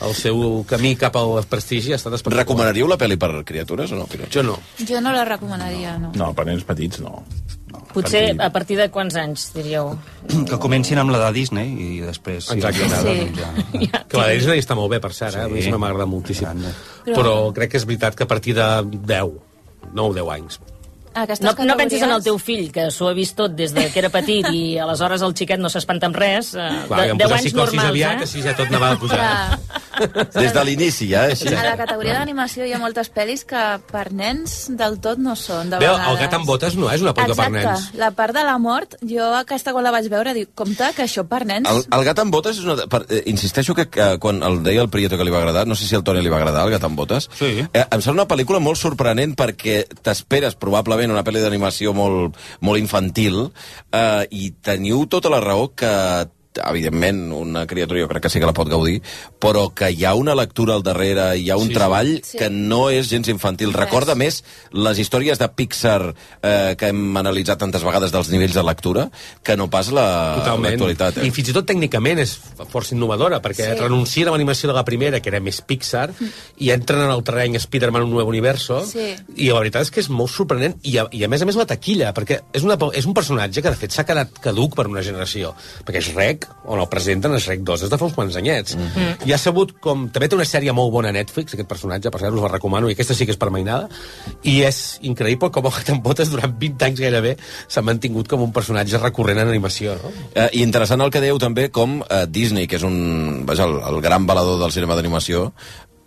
[SPEAKER 1] Oh,
[SPEAKER 3] el seu camí cap al prestigi ha estat espectacular.
[SPEAKER 1] Recomanaríeu la pel·li per criatures o no?
[SPEAKER 3] Jo no.
[SPEAKER 4] Jo no la recomanaria, no.
[SPEAKER 5] No, per nens petits no.
[SPEAKER 7] Potser a partir de quants anys, diríeu?
[SPEAKER 2] Que comencin amb la de Disney i després... si
[SPEAKER 3] Exacte.
[SPEAKER 2] els agrada,
[SPEAKER 7] Sí.
[SPEAKER 2] doncs ja.
[SPEAKER 3] Que la Disney està molt bé, per cert, eh?
[SPEAKER 2] Sí.
[SPEAKER 3] a mi això m'agrada moltíssim.
[SPEAKER 4] Però-
[SPEAKER 3] Però... crec que és veritat que a partir de 10, 9-10 anys.
[SPEAKER 4] Aquestes
[SPEAKER 7] No, no
[SPEAKER 4] categories-
[SPEAKER 7] pensis en el teu fill, que s'ho ha vist tot des de que era petit i aleshores el xiquet no s'espanta amb res. Eh,
[SPEAKER 3] Clar,
[SPEAKER 7] de,
[SPEAKER 3] vam
[SPEAKER 7] 10
[SPEAKER 3] posar
[SPEAKER 7] anys
[SPEAKER 3] psicosis
[SPEAKER 7] normals,
[SPEAKER 3] aviat,
[SPEAKER 7] eh?
[SPEAKER 3] així ja tot anava a pujar.
[SPEAKER 4] Clar,
[SPEAKER 1] Des de l'inici, ja, eh, així.
[SPEAKER 4] a la categoria d'animació hi ha moltes pel·lis que per nens del tot no són, de
[SPEAKER 3] Bé, el
[SPEAKER 4] vegades.
[SPEAKER 3] gat amb botes no és una pel·lícula per
[SPEAKER 4] Exacte,
[SPEAKER 3] nens.
[SPEAKER 4] la part de la mort, jo aquesta quan la vaig veure dic, compte que això per nens...
[SPEAKER 1] El, el gat amb botes és una... Per, eh, insisteixo que, que quan el deia el Prieto que li va agradar, no sé si al Toni li va agradar el gat amb botes, sí. eh, em sembla una pel·lícula molt sorprenent perquè t'esperes probablement una pel·li d'animació molt, molt infantil eh, i teniu tota la raó que evidentment, una criatura jo crec que sí que la pot gaudir, però que hi ha una lectura al darrere, hi ha un sí, treball sí. que no és gens infantil. Recorda més les històries de Pixar eh, que hem analitzat tantes vegades dels nivells de lectura que no pas la- Ah, l'actualitat. eh?
[SPEAKER 3] I fins i tot tècnicament és força innovadora, perquè
[SPEAKER 4] Sí. Mm.
[SPEAKER 3] sí. renuncien a l'animació de la primera, que era més Pixar, i entren en el terreny Spider-Man un nou universo,
[SPEAKER 4] Sí.
[SPEAKER 3] i la veritat és que és molt sorprenent, i a, i a més a més la taquilla, perquè és, una, pel- és un personatge que de fet s'ha quedat caduc per una generació, perquè és rec, on el presenten, és rec 2, és de fa uns quants anyets.
[SPEAKER 1] Mm.
[SPEAKER 12] Mhm.
[SPEAKER 3] I ha sabut com... També té una sèrie molt bona a Netflix, aquest personatge, per cert, us la recomano, i aquesta sí que és permainada, i és increïble com el Gat en Botes durant 20 anys gairebé s'ha mantingut com un personatge recurrent en animació, no?
[SPEAKER 1] Eh, I interessant el que dèieu també com eh, Disney, que és un, vaja, el, el gran valedor del cinema d'animació,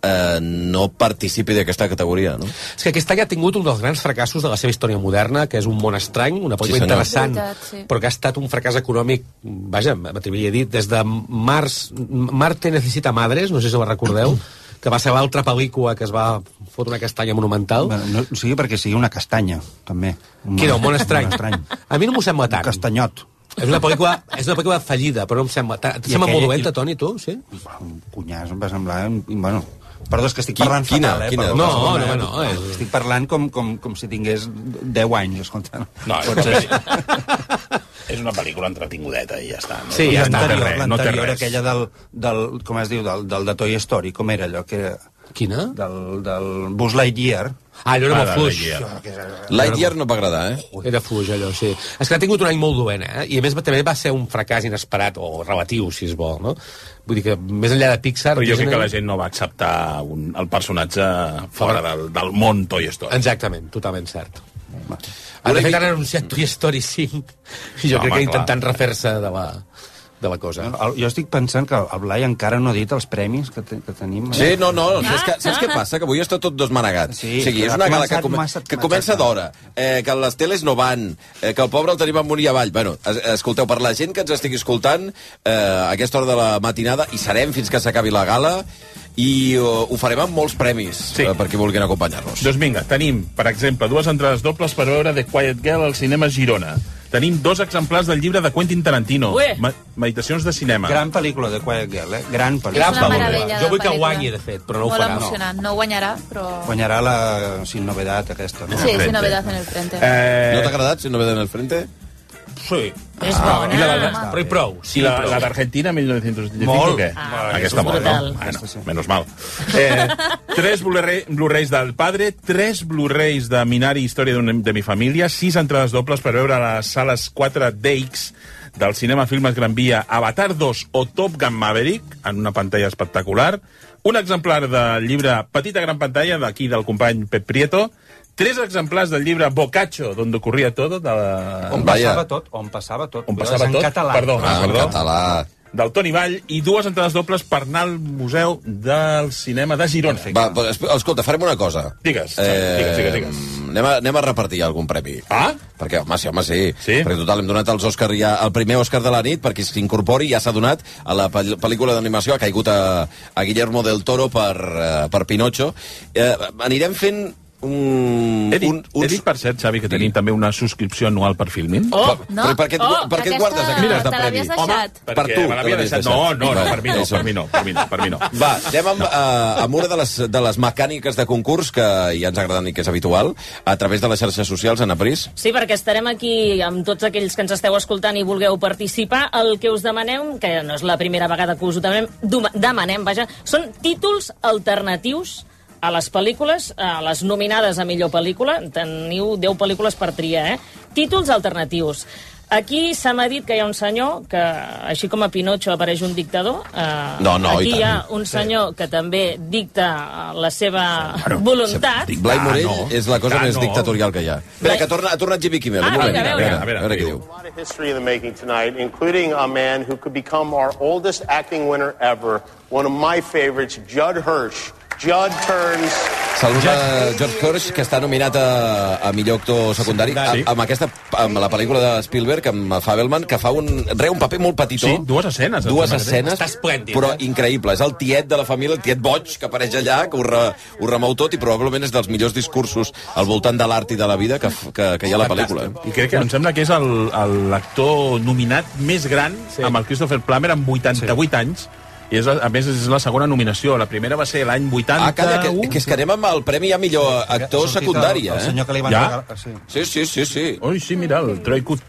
[SPEAKER 1] eh, no participi d'aquesta categoria, no?
[SPEAKER 3] És que aquest any ha tingut un dels grans fracassos de la seva història moderna, que és Un món estrany, una pel·lícula
[SPEAKER 1] Sí, senyor.
[SPEAKER 3] interessant,
[SPEAKER 1] Veritat, sí.
[SPEAKER 3] però que ha estat un fracàs econòmic, vaja, m'atreviria a dir, des de març... Marte necessita madres, no sé si la recordeu, que va ser l'altra pel·lícula que es va fotre una castanya monumental.
[SPEAKER 2] Bueno, no, o sigui, perquè sigui una castanya, també.
[SPEAKER 3] Que era un món estrany. A mi no m'ho sembla tant.
[SPEAKER 2] Castanyot.
[SPEAKER 3] És una pel·lícula, és una pel·lícula fallida, però no em sembla... tant. Et
[SPEAKER 2] I
[SPEAKER 3] sembla
[SPEAKER 2] aquella-
[SPEAKER 3] molt dolenta, Toni, tu? Sí?
[SPEAKER 2] Cunyàs, em va semblar... un- Bueno, perdó, és que estic parlant
[SPEAKER 3] quina-
[SPEAKER 2] fatal, eh?
[SPEAKER 3] quina-
[SPEAKER 2] perdó,
[SPEAKER 3] No,
[SPEAKER 2] perdona,
[SPEAKER 3] no,
[SPEAKER 2] eh?
[SPEAKER 3] no, és-
[SPEAKER 2] Estic parlant com, com, com si tingués 10 anys, escolta.
[SPEAKER 5] No, és
[SPEAKER 2] Potser-
[SPEAKER 5] És una pel·lícula entretingudeta i ja està. No,
[SPEAKER 2] Sí,
[SPEAKER 5] no,
[SPEAKER 2] ja
[SPEAKER 5] no té
[SPEAKER 2] l'anterior,
[SPEAKER 5] res, no té
[SPEAKER 2] l'anterior,
[SPEAKER 5] res.
[SPEAKER 2] aquella del, del, com es diu, del, del de Toy Story, com era allò? Que era?
[SPEAKER 3] Quina?
[SPEAKER 2] Del, del Buzz Lightyear.
[SPEAKER 3] Ah, allò era molt fluix.
[SPEAKER 1] Lightyear no va agradar, eh?
[SPEAKER 3] Era fluix, allò, sí. És que ha tingut un any molt dolent, eh? I a més va- també va ser un fracàs inesperat, o relatiu, si es vol, no? Vull dir que més enllà de Pixar...
[SPEAKER 5] Però jo crec
[SPEAKER 3] Disney-
[SPEAKER 5] que la gent no va acceptar un, el personatge Ah, fora del, del món Toy Story.
[SPEAKER 3] Exactament, totalment cert. Ah, de fet, han anunciat Toy Story 5 i jo
[SPEAKER 2] Ah, Home,
[SPEAKER 3] crec
[SPEAKER 2] clar.
[SPEAKER 3] que intentant refer-se de la, de la cosa.
[SPEAKER 2] El, jo estic pensant que el Blai encara no ha dit els premis que, te, que tenim.
[SPEAKER 1] Sí, no, no, saps, que, saps què passa? Que avui està tot desmanegat.
[SPEAKER 2] Sí,
[SPEAKER 1] o sigui,
[SPEAKER 2] que
[SPEAKER 1] és
[SPEAKER 2] ha
[SPEAKER 1] una gala que,
[SPEAKER 2] començat
[SPEAKER 1] come,
[SPEAKER 2] massa-
[SPEAKER 1] que comença d'hora, eh, que les teles no van, eh, que el pobre el tenim amunt i avall. Bueno, es, escolteu, per la gent que ens estigui escoltant, eh, a aquesta hora de la matinada, i serem fins que s'acabi la gala, i eh, ho farem amb molts premis, sí. eh, per qui vulguin acompanyar-nos.
[SPEAKER 5] Doncs vinga, tenim, per exemple, dues entrades dobles per veure The Quiet Girl al cinema Girona. Tenim dos exemplars del llibre de Quentin Tarantino,
[SPEAKER 2] Ué!
[SPEAKER 5] Me Meditacions de cinema.
[SPEAKER 2] Gran pel·lícula de Quiet Girl, eh? Gran pel·lícula.
[SPEAKER 4] Gran És una pel·lícula. meravella de Jo vull que pel·lícula. guanyi, de
[SPEAKER 3] fet,
[SPEAKER 4] Molt emocionant. No guanyarà, però...
[SPEAKER 2] Guanyarà la Sin Novedad, aquesta. No?
[SPEAKER 4] Sí, sí, novedad en el frente.
[SPEAKER 5] Eh...
[SPEAKER 1] No t'ha agradat si no ve en el frente?
[SPEAKER 5] Sí.
[SPEAKER 4] És
[SPEAKER 2] Ah,
[SPEAKER 4] bona.
[SPEAKER 5] I la, de-
[SPEAKER 4] Home.
[SPEAKER 5] però i prou. Sí, I la, la d'Argentina, 1985,
[SPEAKER 2] Molt.
[SPEAKER 5] què?
[SPEAKER 2] Ah,
[SPEAKER 5] Aquesta
[SPEAKER 2] és
[SPEAKER 5] molt,
[SPEAKER 2] brutal.
[SPEAKER 5] no? Bueno, menos mal. Eh, tres Blu-ray- Blu-rays del Padre, tres Blu-rays de Minari Història d'un- de mi família, sis entrades dobles per veure a les sales 4DX del cinema Filmes Gran Via Avatar 2 o Top Gun Maverick en una pantalla espectacular, un exemplar del llibre Petita Gran Pantalla d'aquí del company Pep Prieto, tres exemplars del llibre Bocacho, d'on ocorria tot, de...
[SPEAKER 2] On passava tot, on passava tot.
[SPEAKER 5] On
[SPEAKER 2] Cuidado,
[SPEAKER 5] passava
[SPEAKER 2] és
[SPEAKER 5] tot?
[SPEAKER 2] En català.
[SPEAKER 5] Perdó,
[SPEAKER 1] Ah, en
[SPEAKER 5] perdó.
[SPEAKER 1] català.
[SPEAKER 5] Del Toni Vall i dues entrades dobles per anar al Museu del Cinema de Girona.
[SPEAKER 1] Va, però, es- escolta, farem una cosa.
[SPEAKER 5] Digues, digues, digues, digues.
[SPEAKER 1] Eh, Anem a, anem a repartir algun premi.
[SPEAKER 5] Ah?
[SPEAKER 1] Perquè, home, sí, home, sí. sí? Perquè, total, hem donat els Òscar ja, el primer Òscar de la nit, perquè s'incorpori, ja s'ha donat a la pel- pel·lícula d'animació, ha caigut a, a Guillermo del Toro per, eh, per Pinocho. Eh, anirem fent un...
[SPEAKER 5] Mm. He dit,
[SPEAKER 1] un, un...
[SPEAKER 5] he dit per cert, Xavi, que tenim també una subscripció anual per Filmin.
[SPEAKER 1] Oh, Però- no. però per què et gu- Oh, per què et aquesta guardes aquesta
[SPEAKER 5] Mira,
[SPEAKER 1] te l'havies deixat.
[SPEAKER 5] Home,
[SPEAKER 1] Per
[SPEAKER 5] perquè
[SPEAKER 1] tu
[SPEAKER 5] me l'havia
[SPEAKER 1] te l'havies
[SPEAKER 5] deixat. No,
[SPEAKER 1] deixat.
[SPEAKER 5] no, no,
[SPEAKER 1] Vale,
[SPEAKER 5] per mi no,
[SPEAKER 1] això.
[SPEAKER 5] per mi no, per mi no, per mi no.
[SPEAKER 1] Va, anem amb, eh, amb una de les, de les mecàniques de concurs que ja ens agraden i que és habitual, a través de les xarxes socials, Ana Pris.
[SPEAKER 7] Sí, perquè estarem aquí amb tots aquells que ens esteu escoltant i vulgueu participar. El que us demanem, que no és la primera vegada que us ho demanem, duma- demanem vaja, són títols alternatius a les pel·lícules, a les nominades a millor pel·lícula. Teniu 10 pel·lícules per triar, eh? Títols alternatius. Aquí se m'ha dit que hi ha un senyor que, així com a Pinocho apareix un dictador, eh,
[SPEAKER 1] No, no,
[SPEAKER 7] aquí
[SPEAKER 1] i
[SPEAKER 7] hi ha
[SPEAKER 1] tant.
[SPEAKER 7] un senyor que també dicta eh, la seva voluntat.
[SPEAKER 1] Dic, Blai Morell
[SPEAKER 5] no.
[SPEAKER 1] és la cosa
[SPEAKER 5] Ah,
[SPEAKER 1] més
[SPEAKER 5] no.
[SPEAKER 1] dictatorial que hi ha. Espera, que torna, ha tornat Jimmy Kimmel.
[SPEAKER 7] Ah,
[SPEAKER 1] un moment,
[SPEAKER 7] vinga,
[SPEAKER 1] a
[SPEAKER 7] a
[SPEAKER 1] veure,
[SPEAKER 7] veure.
[SPEAKER 1] a veure, què diu.
[SPEAKER 6] A lot of history in the making tonight, including a man who could become our oldest acting winner ever, one of my favorites, Judd Hirsch. Judd turns.
[SPEAKER 1] Saluda George Hirsch, que està nominat a, a millor actor secundari
[SPEAKER 5] Secundari.
[SPEAKER 1] a, amb, aquesta, amb la pel·lícula de Spielberg, amb Fabelman, que fa un, reu un paper molt petitó.
[SPEAKER 5] Sí, dues escenes, em
[SPEAKER 1] Dues
[SPEAKER 5] sembla que té.
[SPEAKER 1] escenes,
[SPEAKER 5] Està esplèndid,
[SPEAKER 1] però
[SPEAKER 5] eh?
[SPEAKER 1] increïble. És el tiet de la família, el tiet boig, que apareix allà, que ho, re, ho remou tot, i probablement és dels millors discursos al voltant de l'art i de la vida que, f- que, que hi ha a la pel·lícula. eh?
[SPEAKER 5] I crec que em sembla que és el- el- l'actor nominat més gran sí. amb el Christopher Plummer amb 88 sí. anys. I és la, a més, és la segona nominació. La primera va ser l'any 81.
[SPEAKER 1] Ah, calla, que, que és que anem amb el premi a millor actor secundari, eh?
[SPEAKER 2] El senyor que li van
[SPEAKER 5] Ja?
[SPEAKER 2] regalar... Sí.
[SPEAKER 1] Sí, sí, sí, sí.
[SPEAKER 5] Ui, sí, mira, el Troy Kut...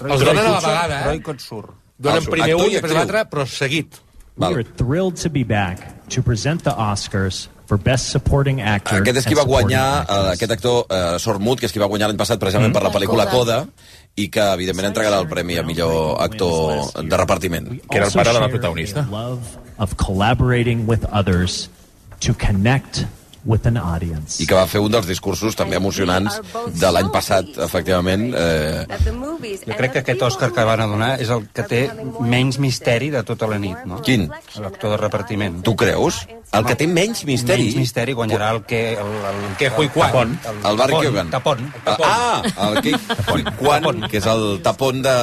[SPEAKER 3] Els donen a la vegada, eh?
[SPEAKER 2] Roy Kotsur.
[SPEAKER 3] Donen
[SPEAKER 1] Ah,
[SPEAKER 3] primer
[SPEAKER 1] actor
[SPEAKER 3] un
[SPEAKER 1] i
[SPEAKER 3] i després
[SPEAKER 1] actriu.
[SPEAKER 3] l'altre, però seguit.
[SPEAKER 1] Val.
[SPEAKER 12] We are thrilled to be back to present the Oscars for Best Supporting Actor.
[SPEAKER 1] Aquest és qui
[SPEAKER 12] and
[SPEAKER 1] va
[SPEAKER 12] Supporting
[SPEAKER 1] guanyar,
[SPEAKER 12] Actress.
[SPEAKER 1] eh, aquest actor eh, Sormut, que és qui va guanyar l'any passat precisament per la pel·lícula Coda, i que, evidentment, entregarà el premi a millor actor de repartiment.
[SPEAKER 5] Que era el pare de la
[SPEAKER 12] share
[SPEAKER 5] protagonista.
[SPEAKER 12] the Love of collaborating with others to connect with an audience.
[SPEAKER 1] I que va fer un dels discursos també emocionants de l'any passat, efectivament. Eh,
[SPEAKER 2] Jo crec que aquest Òscar que van a donar és el que té menys misteri de tota la nit, no?
[SPEAKER 1] Quin?
[SPEAKER 2] L'actor de repartiment.
[SPEAKER 1] tu creus? El que té menys misteri...
[SPEAKER 2] Menys misteri guanyarà el que... El, el, el que
[SPEAKER 3] Hui Quan.
[SPEAKER 1] El Barry Keoghan.
[SPEAKER 2] Tapon.
[SPEAKER 1] Ah, el Kik Quan, que és el tapon de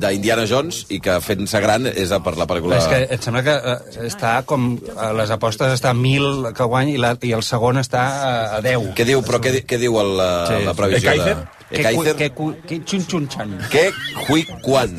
[SPEAKER 1] d'Indiana Jones i que fent-se gran és per la pel·lícula...
[SPEAKER 2] És que em sembla que eh, està com... A les apostes està a 1.000 que guany i, la, i el segon està a, a 10.
[SPEAKER 1] Què diu, però què, di- què diu el, la,
[SPEAKER 2] Sí.
[SPEAKER 1] la previsió de...
[SPEAKER 5] Ekaizer?
[SPEAKER 2] Que,
[SPEAKER 1] Ekaizer?
[SPEAKER 2] que, que, que, que xun xun xan.
[SPEAKER 1] que Hui Kwan,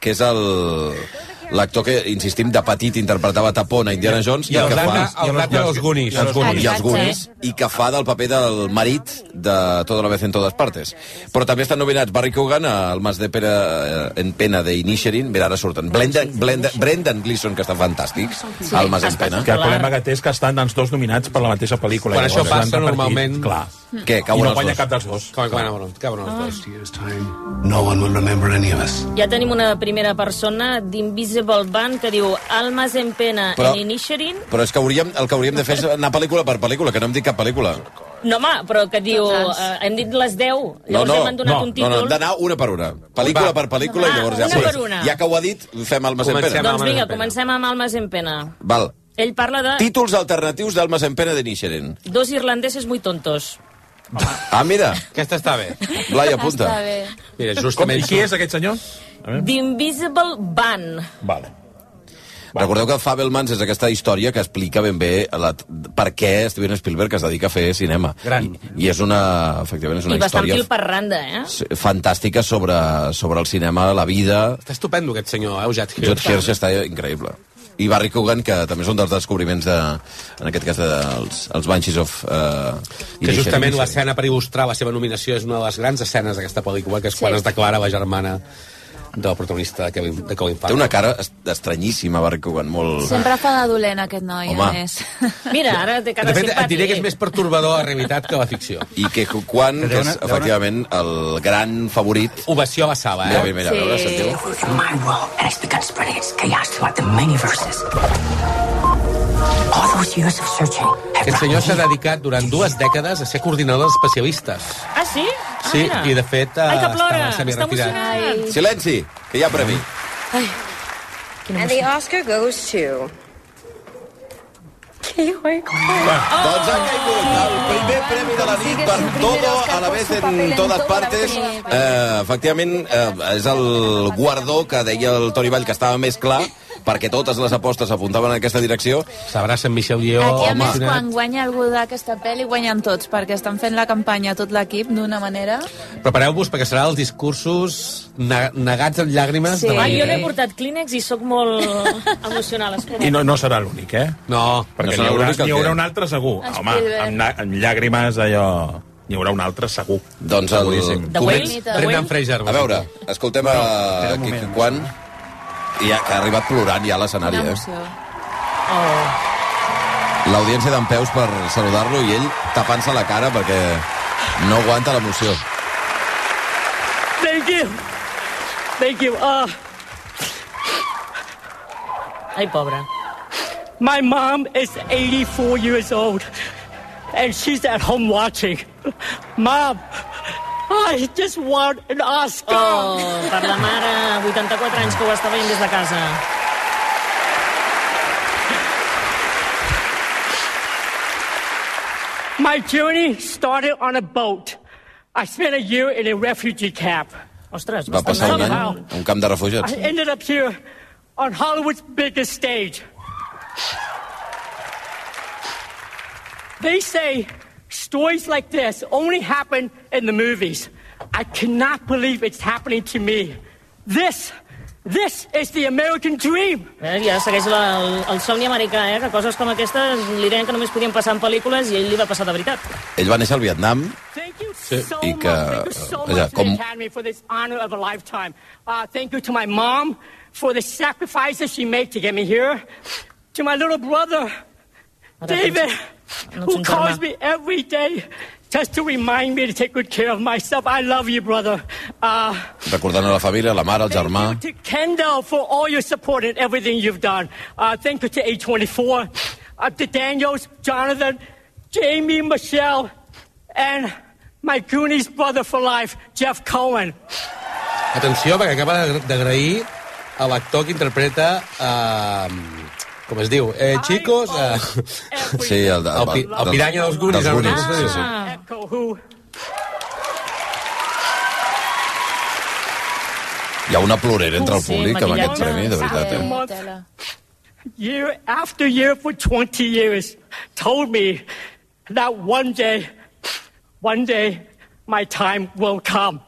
[SPEAKER 1] que és el l'actor que, insistim, de petit interpretava Tapón a Indiana Jones
[SPEAKER 3] I el nana- el nana dels Goonies.
[SPEAKER 1] i els Goonies, i, els
[SPEAKER 4] Exacte.
[SPEAKER 1] Goonies, i que fa del paper del marit de Toda la vez en todas partes. Però també estan nominats Barry Coogan, el mas de Pere eh, en Pena de Inisherin, mira, ara surten, Brendan, Brendan, Brendan Gleeson, que està fantàstic, el mas en Pena.
[SPEAKER 5] Que el problema que té és que estan els dos nominats per la mateixa pel·lícula.
[SPEAKER 3] Quan
[SPEAKER 5] Llavors,
[SPEAKER 3] això passa,
[SPEAKER 5] l'han repartit,
[SPEAKER 3] normalment- mm.
[SPEAKER 5] Clar.
[SPEAKER 1] Què,
[SPEAKER 5] I
[SPEAKER 1] cauen
[SPEAKER 5] no
[SPEAKER 1] els
[SPEAKER 5] guanya
[SPEAKER 1] dos?
[SPEAKER 5] cap dels dos.
[SPEAKER 3] Com que van caben els dos.
[SPEAKER 13] No one will remember any of us.
[SPEAKER 7] Ja tenim una primera persona d'Invisible Band que diu Almas en pena
[SPEAKER 1] Però-
[SPEAKER 7] Però... en Inisherin.
[SPEAKER 1] Però és que hauríem, el que hauríem de fer és anar pel·lícula per pel·lícula, que no hem dit cap pel·lícula.
[SPEAKER 7] No, home, però que diu... Eh, hem dit les 10,
[SPEAKER 1] No,
[SPEAKER 7] llavors
[SPEAKER 1] no,
[SPEAKER 7] hem donat
[SPEAKER 1] no,
[SPEAKER 7] un
[SPEAKER 1] no,
[SPEAKER 7] títol.
[SPEAKER 1] no, hem d'anar una per una. Pel·lícula
[SPEAKER 3] Va.
[SPEAKER 1] per pel·lícula
[SPEAKER 7] Va,
[SPEAKER 1] i llavors
[SPEAKER 7] una
[SPEAKER 1] ja...
[SPEAKER 7] per una.
[SPEAKER 1] Ja que ho ha dit, fem el Mas en
[SPEAKER 3] Comencem amb-
[SPEAKER 1] Pena.
[SPEAKER 7] Doncs
[SPEAKER 3] Almas
[SPEAKER 7] vinga, Ah.
[SPEAKER 3] en Pena.
[SPEAKER 7] comencem amb Almas en pena.
[SPEAKER 1] Val.
[SPEAKER 7] Ell parla de
[SPEAKER 1] Títols alternatius del Mas en Pena de Nixeren.
[SPEAKER 7] dos irlandeses muy tontos.
[SPEAKER 1] Ah, mira,
[SPEAKER 3] Aquesta està bé.
[SPEAKER 1] Blai, apunta.
[SPEAKER 4] Està bé.
[SPEAKER 3] Mira,
[SPEAKER 5] Com, I
[SPEAKER 3] justament...
[SPEAKER 5] qui és aquest senyor?
[SPEAKER 7] The Invisible Band.
[SPEAKER 5] Vale.
[SPEAKER 1] Recordeu que Fabelmans és aquesta història que explica ben bé la, per què Steven Spielberg es dedica a fer cinema.
[SPEAKER 2] Gran.
[SPEAKER 1] I, i és una, efectivament, és
[SPEAKER 7] I
[SPEAKER 1] una
[SPEAKER 7] bastant
[SPEAKER 1] història
[SPEAKER 7] fil per randa, eh?
[SPEAKER 1] f- fantàstica sobre, sobre el cinema, la vida...
[SPEAKER 3] Està estupendo, aquest senyor, eh, Ujat Hirsch.
[SPEAKER 1] Judd Hirsch està increïble. I Barry Coogan, que també és un dels descobriments de, en aquest cas, dels els Banshees of... Uh,
[SPEAKER 3] Que justament l'escena per il·lustrar la seva nominació és una de les grans escenes d'aquesta pel·lícula, que és quan
[SPEAKER 4] Sí.
[SPEAKER 3] es declara la germana del protagonista de Kevin, de Colin
[SPEAKER 1] Té una cara est- estranyíssima, Barry Cogan, molt...
[SPEAKER 4] Sempre fa de dolent aquest noi,
[SPEAKER 1] Home.
[SPEAKER 4] a més.
[SPEAKER 7] Mira, ara té cara
[SPEAKER 3] De fet, et
[SPEAKER 7] simpàtic.
[SPEAKER 3] diré que és més pertorbador la realitat que la ficció.
[SPEAKER 1] I que quan, que és, efectivament, el gran favorit...
[SPEAKER 3] Ovació a la sala, eh?
[SPEAKER 1] Ja, mira, sí. veure, sentiu?
[SPEAKER 14] With your mind well, and it's begun spreading its chaos throughout the many verses. All those years of searching have
[SPEAKER 3] Aquest
[SPEAKER 14] brought
[SPEAKER 3] senyor s'ha
[SPEAKER 14] me
[SPEAKER 3] dedicat durant dues dècades a ser coordinador d'especialistes.
[SPEAKER 7] Ah, sí? Ah,
[SPEAKER 3] Sí,
[SPEAKER 7] mira.
[SPEAKER 3] i de fet... eh,
[SPEAKER 7] Ai, que plora,
[SPEAKER 3] Està,
[SPEAKER 7] està emocionat.
[SPEAKER 1] Silenci, que hi ha premi.
[SPEAKER 15] And the Oscar goes to. Keyword.
[SPEAKER 1] Doncs ha caigut el primer premi de la nit per Todo a la vez en todas partes. Eh, efectivament, eh, és el guardó que deia el Toni Vall que estava més clar perquè totes les apostes apuntaven en aquesta direcció.
[SPEAKER 3] S'abraça en Michel Lleó.
[SPEAKER 4] Aquí, a més, quan guanya algú d'aquesta pel·li, guanyen tots, perquè estan fent la campanya tot l'equip d'una manera.
[SPEAKER 3] Prepareu-vos perquè serà els discursos ne- negats amb llàgrimes
[SPEAKER 7] Sí.
[SPEAKER 3] de la
[SPEAKER 7] Ah,
[SPEAKER 3] nit.
[SPEAKER 7] jo n'he
[SPEAKER 3] eh?
[SPEAKER 7] portat Kleenex i sóc molt emocional.
[SPEAKER 5] I no, no serà l'únic, eh?
[SPEAKER 3] No.
[SPEAKER 5] Perquè
[SPEAKER 1] No serà
[SPEAKER 5] no hi, haurà,
[SPEAKER 1] l'únic, el
[SPEAKER 5] hi haurà
[SPEAKER 1] què?
[SPEAKER 5] un altre segur. Home,
[SPEAKER 1] Spielberg.
[SPEAKER 5] amb, na- amb llàgrimes allò... N'hi haurà un altre segur.
[SPEAKER 1] Doncs el...
[SPEAKER 3] The Whale? The Whale? Brendan Fraser,
[SPEAKER 1] A veure, escoltem a Quico Quan, i ja, que ha arribat plorant ja a l'escenari. Eh?
[SPEAKER 4] Una emoció.
[SPEAKER 7] Oh.
[SPEAKER 1] L'audiència d'en Peus per saludar-lo i ell tapant-se la cara perquè no aguanta l'emoció.
[SPEAKER 14] Thank you. Thank you. Uh,
[SPEAKER 7] Ai, pobre.
[SPEAKER 14] my mom is 84 years old, and she's at home watching. Mom, I just won an Oscar.
[SPEAKER 7] Oh, per la mare, 84 anys que ho està veient des de casa.
[SPEAKER 14] My journey started on a boat. I spent a year in a refugee camp.
[SPEAKER 7] Ostres,
[SPEAKER 1] Va passar un any a un camp de
[SPEAKER 14] I
[SPEAKER 1] refugiats.
[SPEAKER 14] ended up here on Hollywood's biggest stage. They say stories like this only happen in the movies. I cannot believe it's happening to me. This, this is the American dream.
[SPEAKER 7] Eh, ja segueix la, el, el somni americà, eh? que coses com aquestes li deien que només podien passar en pel·lícules i ell li va passar de veritat.
[SPEAKER 1] Ell va néixer al Vietnam
[SPEAKER 14] Sí.
[SPEAKER 1] i que...
[SPEAKER 14] so
[SPEAKER 1] Vaja,
[SPEAKER 14] much to the
[SPEAKER 1] com,
[SPEAKER 14] Academy for this honor of a lifetime. Uh, thank you to my mom for the sacrifices she made to get me here. To my little brother, David, who
[SPEAKER 7] Norma.
[SPEAKER 14] calls me every day just to remind me to take good care of myself. I love you, brother. Uh,
[SPEAKER 1] recordant a la família, la mare, el germà...
[SPEAKER 14] to Kendall for all your support and everything you've done. Uh, thank you to A24, uh, to Daniels, Jonathan, Jamie, Michelle, and my Goonies brother for life, Jeff Cohen.
[SPEAKER 3] Atenció, perquè acaba de- d'agrair a l'actor que interpreta... Eh, com es diu? Eh, chicos...
[SPEAKER 4] oh.
[SPEAKER 3] Eh,
[SPEAKER 1] Sí, el, de-
[SPEAKER 3] El pi- el piranya dels Goonies,
[SPEAKER 1] Dels
[SPEAKER 3] ara
[SPEAKER 1] Goonies, sí,
[SPEAKER 3] mateix.
[SPEAKER 1] sí.
[SPEAKER 14] Echo, who
[SPEAKER 1] Hi ha una plorera entre el
[SPEAKER 14] Sí,
[SPEAKER 1] públic amb aquest
[SPEAKER 14] maquillatge.
[SPEAKER 1] premi, de veritat.
[SPEAKER 14] Sí.
[SPEAKER 1] Eh?
[SPEAKER 14] year after year for 20 years told me that one day, one day, my time will come.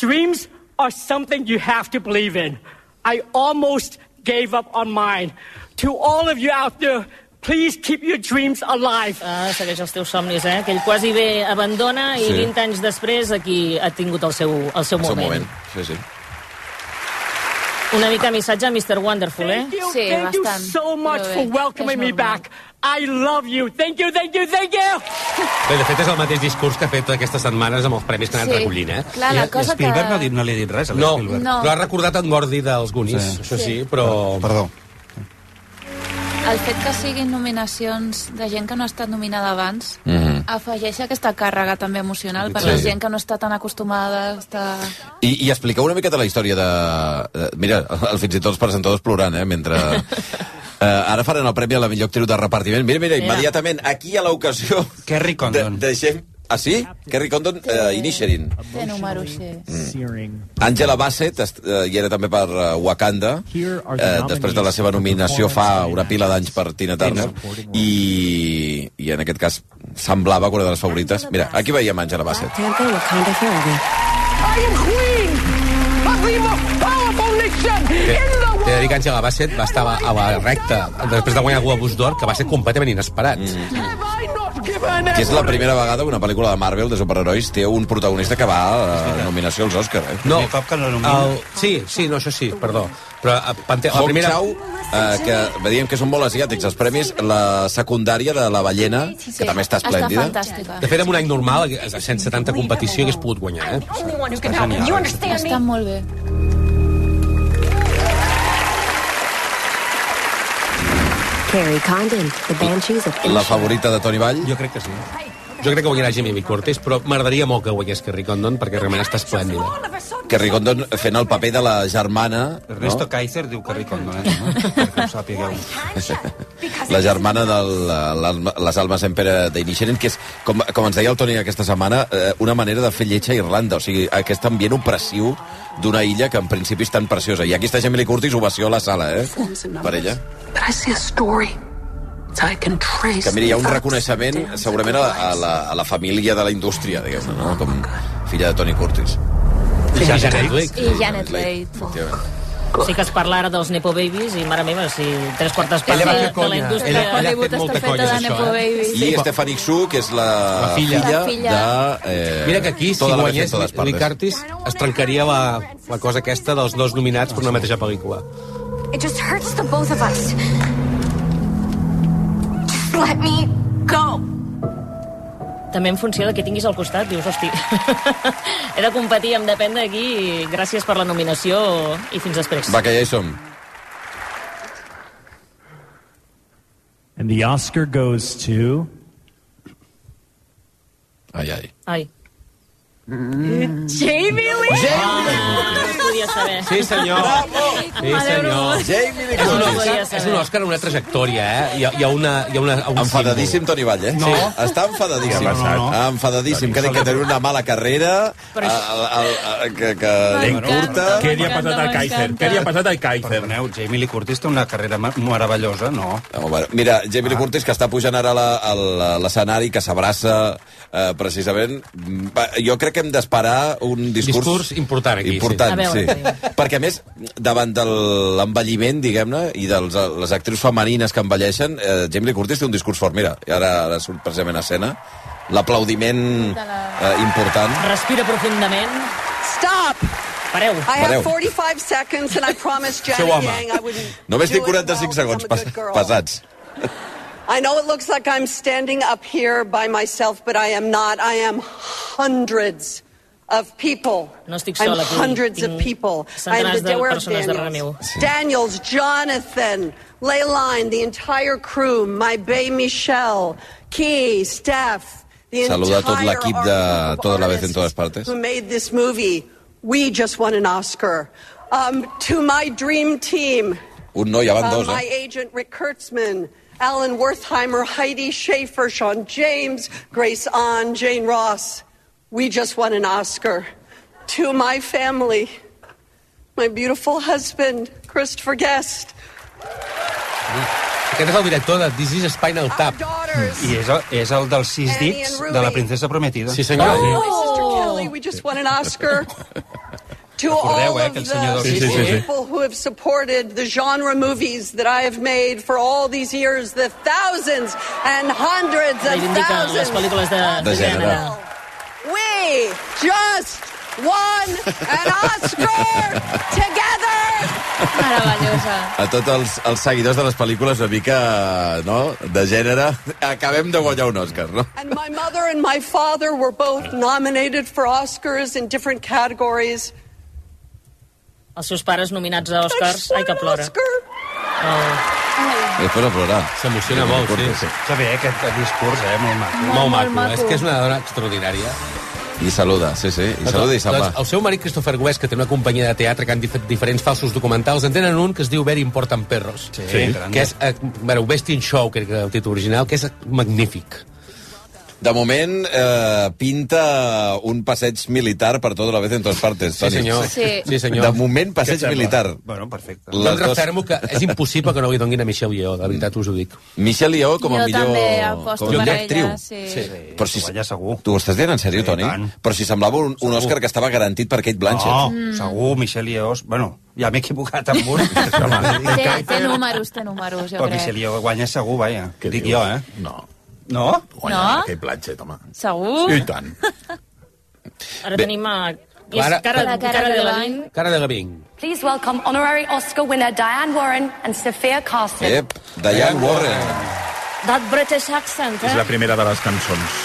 [SPEAKER 14] Dreams are something you have to believe in. I almost gave up on mine. To all of you out there, please keep your dreams alive.
[SPEAKER 7] Ah, segueix els teus somnis, eh? que ell quasi bé abandona i
[SPEAKER 1] Sí.
[SPEAKER 7] 20 anys després aquí ha tingut el seu, el seu
[SPEAKER 1] El seu
[SPEAKER 7] moment.
[SPEAKER 1] moment. Sí, sí.
[SPEAKER 7] Una mica missatge a Mr. Wonderful, eh?
[SPEAKER 14] Thank you, thank you so much for welcoming me back. I love you. Thank you, thank you, thank you.
[SPEAKER 3] Bé, de fet, és el mateix discurs que ha fet aquestes setmanes amb els premis que han anat
[SPEAKER 4] Sí.
[SPEAKER 3] recollint, eh?
[SPEAKER 4] Clar, la I- i cosa Spielberg que- no ha dit-
[SPEAKER 3] no li ha dit res, a no,
[SPEAKER 4] Spielberg.
[SPEAKER 3] No,
[SPEAKER 4] No.
[SPEAKER 3] però ha recordat en Gordy dels Goonies, sí. això sí, però... Perdó.
[SPEAKER 4] El fet que siguin nominacions de gent que no ha estat nominada abans
[SPEAKER 1] Mhm.
[SPEAKER 4] afegeix aquesta càrrega també emocional per
[SPEAKER 1] Sí.
[SPEAKER 4] la gent que no està tan acostumada a estar...
[SPEAKER 1] I, I expliqueu una miqueta la història de... de- Mira, el, fins i tot els presentadors plorant, eh, mentre... Eh, ara faran el premi a la millor actriu de repartiment. Mira, mira,
[SPEAKER 16] Mira.
[SPEAKER 1] immediatament, aquí a l'ocasió... Kerry Condon. De, deixem... Ah, sí? Kerry Condon, eh, Inisherin.
[SPEAKER 4] Té número ser.
[SPEAKER 12] Searing.
[SPEAKER 1] Angela Bassett est, eh, hi era també per eh, Wakanda
[SPEAKER 12] Here are the
[SPEAKER 1] eh, després de la seva nominació fa una pila d'anys per Tina Turner i, i en aquest cas semblava que una de les favorites mira, aquí veiem Angela Bassett
[SPEAKER 15] Tampa, Wakanda forever.
[SPEAKER 14] I am queen of the most powerful nation
[SPEAKER 3] Bé,
[SPEAKER 1] Eh.
[SPEAKER 14] in the
[SPEAKER 3] T'he de dir que Angela Bassett va estar a la recta després de guanyar el Globus d'Or, que va ser completament inesperat. Mm.
[SPEAKER 14] Have I not
[SPEAKER 1] Que és la primera vegada que una pel·lícula de Marvel de superherois té un protagonista que va a la nominació als Oscars. Eh?
[SPEAKER 3] No, cop que el... Sí, sí, no, això sí, perdó. Però eh, Pante... la
[SPEAKER 1] Hawk
[SPEAKER 3] primera...
[SPEAKER 1] Chow, eh, que diem que són molt asiàtics els premis, la secundària de la ballena, que també està esplèndida.
[SPEAKER 4] fantàstica.
[SPEAKER 3] De fet, en un any normal, sense tanta competició, hagués pogut guanyar, eh?
[SPEAKER 4] Only one who
[SPEAKER 3] can help
[SPEAKER 5] eh?
[SPEAKER 3] him. You
[SPEAKER 4] understand me? Està molt bé.
[SPEAKER 15] Carrie Condon, The Banshees of
[SPEAKER 1] La favorita de Toni Vall?
[SPEAKER 3] Jo crec que sí. Jo crec que guanyarà Jimmy B. Cortés, però m'agradaria molt que guanyés Kerry Condon, perquè realment està esplèndida.
[SPEAKER 1] Que Ricondon fent el paper de la germana...
[SPEAKER 2] Ernesto Kaiser diu que Ricon no, eh? No? Perquè ho sàpigueu.
[SPEAKER 1] La germana de la- la- les almes empera d'Inisherin, que és, com, com ens deia el Toni aquesta setmana, eh, una manera de fer lletja a Irlanda. O sigui, aquest ambient opressiu d'una illa que en principi és tan preciosa. I aquí està Jamie Lee Curtis, ovació a la sala, eh? Per ella.
[SPEAKER 16] But I see a story that I can trace.
[SPEAKER 1] Que mira, hi ha un reconeixement segurament a la, a la, a la família de la indústria, diguem-ne, no? Com filla de Tony Curtis.
[SPEAKER 3] I Janet Lake.
[SPEAKER 4] I Janet Leigh.
[SPEAKER 7] Sí que es parla ara dels Nepo Babies i, mare meva, si tres quartes parts
[SPEAKER 4] Ella va
[SPEAKER 7] de,
[SPEAKER 4] fer
[SPEAKER 7] de la
[SPEAKER 4] conya.
[SPEAKER 7] indústria...
[SPEAKER 4] Ella- ella ha fet molta
[SPEAKER 7] està
[SPEAKER 4] conya,
[SPEAKER 7] feta
[SPEAKER 4] és
[SPEAKER 7] de
[SPEAKER 4] això,
[SPEAKER 7] Nepo
[SPEAKER 4] eh?
[SPEAKER 7] Babies.
[SPEAKER 1] I Stephanie Xu, que és la,
[SPEAKER 3] La filla.
[SPEAKER 1] filla,
[SPEAKER 3] La filla.
[SPEAKER 1] de... Eh,
[SPEAKER 3] Mira que aquí, si
[SPEAKER 1] Toda la
[SPEAKER 3] guanyés
[SPEAKER 1] Vez en Todas
[SPEAKER 3] Lee
[SPEAKER 1] Partes.
[SPEAKER 3] Curtis, es trencaria la, la cosa aquesta dels dos nominats per una mateixa pel·lícula.
[SPEAKER 16] It just hurts the both of us. Just let me go.
[SPEAKER 7] També en funció de què tinguis al costat, dius, hosti, he de competir, em depèn d'aquí, i gràcies per la nominació i fins després.
[SPEAKER 1] Va, que ja hi som.
[SPEAKER 12] And the Oscar goes to.
[SPEAKER 1] Ai, ai.
[SPEAKER 7] Ai. Jamie Lee! Jamie Lee! Ah, No podia saber.
[SPEAKER 3] Sí, senyor. Sí, senyor.
[SPEAKER 1] Jamie Lee
[SPEAKER 3] És un
[SPEAKER 1] Curtis.
[SPEAKER 3] Oscar, és un Oscar amb una trajectòria, eh? Hi ha, hi ha una... Hi ha una un
[SPEAKER 1] Enfadadíssim, Toni Vall, eh?
[SPEAKER 3] No.
[SPEAKER 1] Sí. Està
[SPEAKER 3] Què
[SPEAKER 1] enfadadíssim.
[SPEAKER 3] ha passat?
[SPEAKER 1] no, no. Enfadadíssim, que dic que té una mala carrera, el, el, el, que, que ben curta...
[SPEAKER 5] Què li ha passat al Kaiser? Què li ha passat al Kaiser?
[SPEAKER 2] Perdoneu, Jamie Lee Curtis té una carrera ma- meravellosa, no?
[SPEAKER 1] Home, bueno, Mira, Jamie
[SPEAKER 3] Ah.
[SPEAKER 1] Lee Curtis, que està pujant ara la- a l'escenari, que s'abraça eh, precisament... Mm, va, Jo crec que hem d'esperar un discurs...
[SPEAKER 3] Discurs important aquí, sí.
[SPEAKER 1] Important,
[SPEAKER 3] A veure,
[SPEAKER 1] sí. Perquè, a més, davant de l'envelliment, diguem-ne, i de les actrius femenines que envelleixen, eh, Jamie Lee Curtis té un discurs fort. Mira, ara, ara surt precisament a escena. L'aplaudiment eh, important.
[SPEAKER 7] Respira profundament.
[SPEAKER 17] Stop!
[SPEAKER 7] Pareu.
[SPEAKER 17] I have
[SPEAKER 1] Pareu.
[SPEAKER 17] 45 seconds and I promised Janet
[SPEAKER 1] Seu home.
[SPEAKER 17] Yang I wouldn't.
[SPEAKER 1] Només tinc 45 segons pas, passats.
[SPEAKER 17] I know it looks like I'm standing up here by myself, but I am not. I am hundreds of people.
[SPEAKER 7] No estic
[SPEAKER 17] I'm
[SPEAKER 7] sola Mm. aquí.
[SPEAKER 17] hundreds of
[SPEAKER 7] Tinc
[SPEAKER 17] people. I'm
[SPEAKER 7] centenars
[SPEAKER 17] the
[SPEAKER 7] de
[SPEAKER 17] Dewar of
[SPEAKER 7] persones darrere meu.
[SPEAKER 17] Daniels. Daniels, Jonathan, Leyline, the entire crew, my bay Michelle, Key, Steph, the
[SPEAKER 1] Saluda tot
[SPEAKER 17] entire
[SPEAKER 1] l'equip de Toda la vez en todas partes.
[SPEAKER 17] who made this movie. We just won an Oscar. Um, to my dream team,
[SPEAKER 1] Un no, ja van
[SPEAKER 17] uh,
[SPEAKER 1] dos,
[SPEAKER 17] my
[SPEAKER 1] eh?
[SPEAKER 17] agent Rick Kurtzman, Alan Wertheimer, Heidi Schaefer, Sean James, Grace Ahn, Jane Ross. We just won an Oscar. To my family, my beautiful husband, Christopher Guest,
[SPEAKER 3] Aquest és el director de This is Spinal Tap.
[SPEAKER 2] I és el, és el dels sis dits de la princesa prometida. Oh!
[SPEAKER 3] Sí, senyor.
[SPEAKER 17] Oh, my sister Kelly, we just won an Oscar. To all
[SPEAKER 2] Recordeu, eh,
[SPEAKER 17] of
[SPEAKER 2] que el
[SPEAKER 17] the
[SPEAKER 2] senyor dels sis dits.
[SPEAKER 17] people who have supported the genre movies that I have made for all these years, the thousands and hundreds and
[SPEAKER 7] Reivindiquen les
[SPEAKER 17] thousands.
[SPEAKER 7] pel·lícules de,
[SPEAKER 1] De gènere.
[SPEAKER 17] We just won an Oscar together.
[SPEAKER 4] Meravellosa.
[SPEAKER 1] A tots els, els seguidors de les pel·lícules una mica, no?, de gènere. Acabem de guanyar un Òscar, no?
[SPEAKER 17] And my mother and my father were both nominated for Oscars in different categories.
[SPEAKER 7] Els seus pares nominats a Oscars. Ai, que plora.
[SPEAKER 16] Oh.
[SPEAKER 1] I després a plorar.
[SPEAKER 3] S'emociona molt, sí.
[SPEAKER 2] Està bé, aquest discurs, eh? Molt maco.
[SPEAKER 3] Molt, molt maco. maco. És que és una dona extraordinària.
[SPEAKER 1] I saluda, sí, sí. I saluda i se'n va.
[SPEAKER 3] Doncs el seu marit, Christopher West, que té una companyia de teatre que han dif diferents falsos documentals, en tenen un que es diu Very Important Perros. Sí,
[SPEAKER 1] grande.
[SPEAKER 3] Que és, eh, bueno, Best in Show, crec que era el títol original, que és magnífic.
[SPEAKER 1] De moment, eh, pinta un passeig militar per tota la vez en totes partes, Toni.
[SPEAKER 3] senyor. Sí. Sí, senyor.
[SPEAKER 1] De moment,
[SPEAKER 3] Què
[SPEAKER 1] passeig
[SPEAKER 3] et sembla?
[SPEAKER 1] militar.
[SPEAKER 2] Bueno, perfecte.
[SPEAKER 3] Les doncs refermo que és impossible que no li donguin a Michelle Yeoh, de veritat us ho dic.
[SPEAKER 1] Michelle Yeoh com a
[SPEAKER 4] Jo
[SPEAKER 1] millor...
[SPEAKER 4] també
[SPEAKER 1] com
[SPEAKER 4] aposto
[SPEAKER 1] a
[SPEAKER 4] per
[SPEAKER 1] millor
[SPEAKER 4] ella,
[SPEAKER 1] actriu.
[SPEAKER 4] sí. Sí.
[SPEAKER 3] Eh,
[SPEAKER 1] Però si... Guanya segur. Tu ho estàs dient en sèrio, Toni? Però si semblava un, un Òscar que estava garantit per Kate Blanchett.
[SPEAKER 3] Oh.
[SPEAKER 2] No, segur, Michelle Yeoh... Bueno, ja m'he equivocat amb un. Home,
[SPEAKER 4] Té, té números, té números, jo
[SPEAKER 2] Però
[SPEAKER 4] crec.
[SPEAKER 2] Michelle Yeoh guanya segur, vaja. Què dic jo, eh?
[SPEAKER 1] No.
[SPEAKER 2] No?
[SPEAKER 4] No?
[SPEAKER 5] Kate Blanchett, home.
[SPEAKER 4] Segur?
[SPEAKER 5] I tant.
[SPEAKER 7] Ara
[SPEAKER 3] Bé.
[SPEAKER 7] tenim a... I és
[SPEAKER 3] Clara-
[SPEAKER 7] cara,
[SPEAKER 3] La
[SPEAKER 7] cara,
[SPEAKER 3] Cara
[SPEAKER 7] de la
[SPEAKER 3] Delevingne. Cara de Gavin.
[SPEAKER 16] Please welcome honorary Oscar winner Diane Warren and Sophia Carson.
[SPEAKER 1] Ep, Diane Warren.
[SPEAKER 7] That British accent,
[SPEAKER 5] És
[SPEAKER 7] eh?
[SPEAKER 5] la primera de les cançons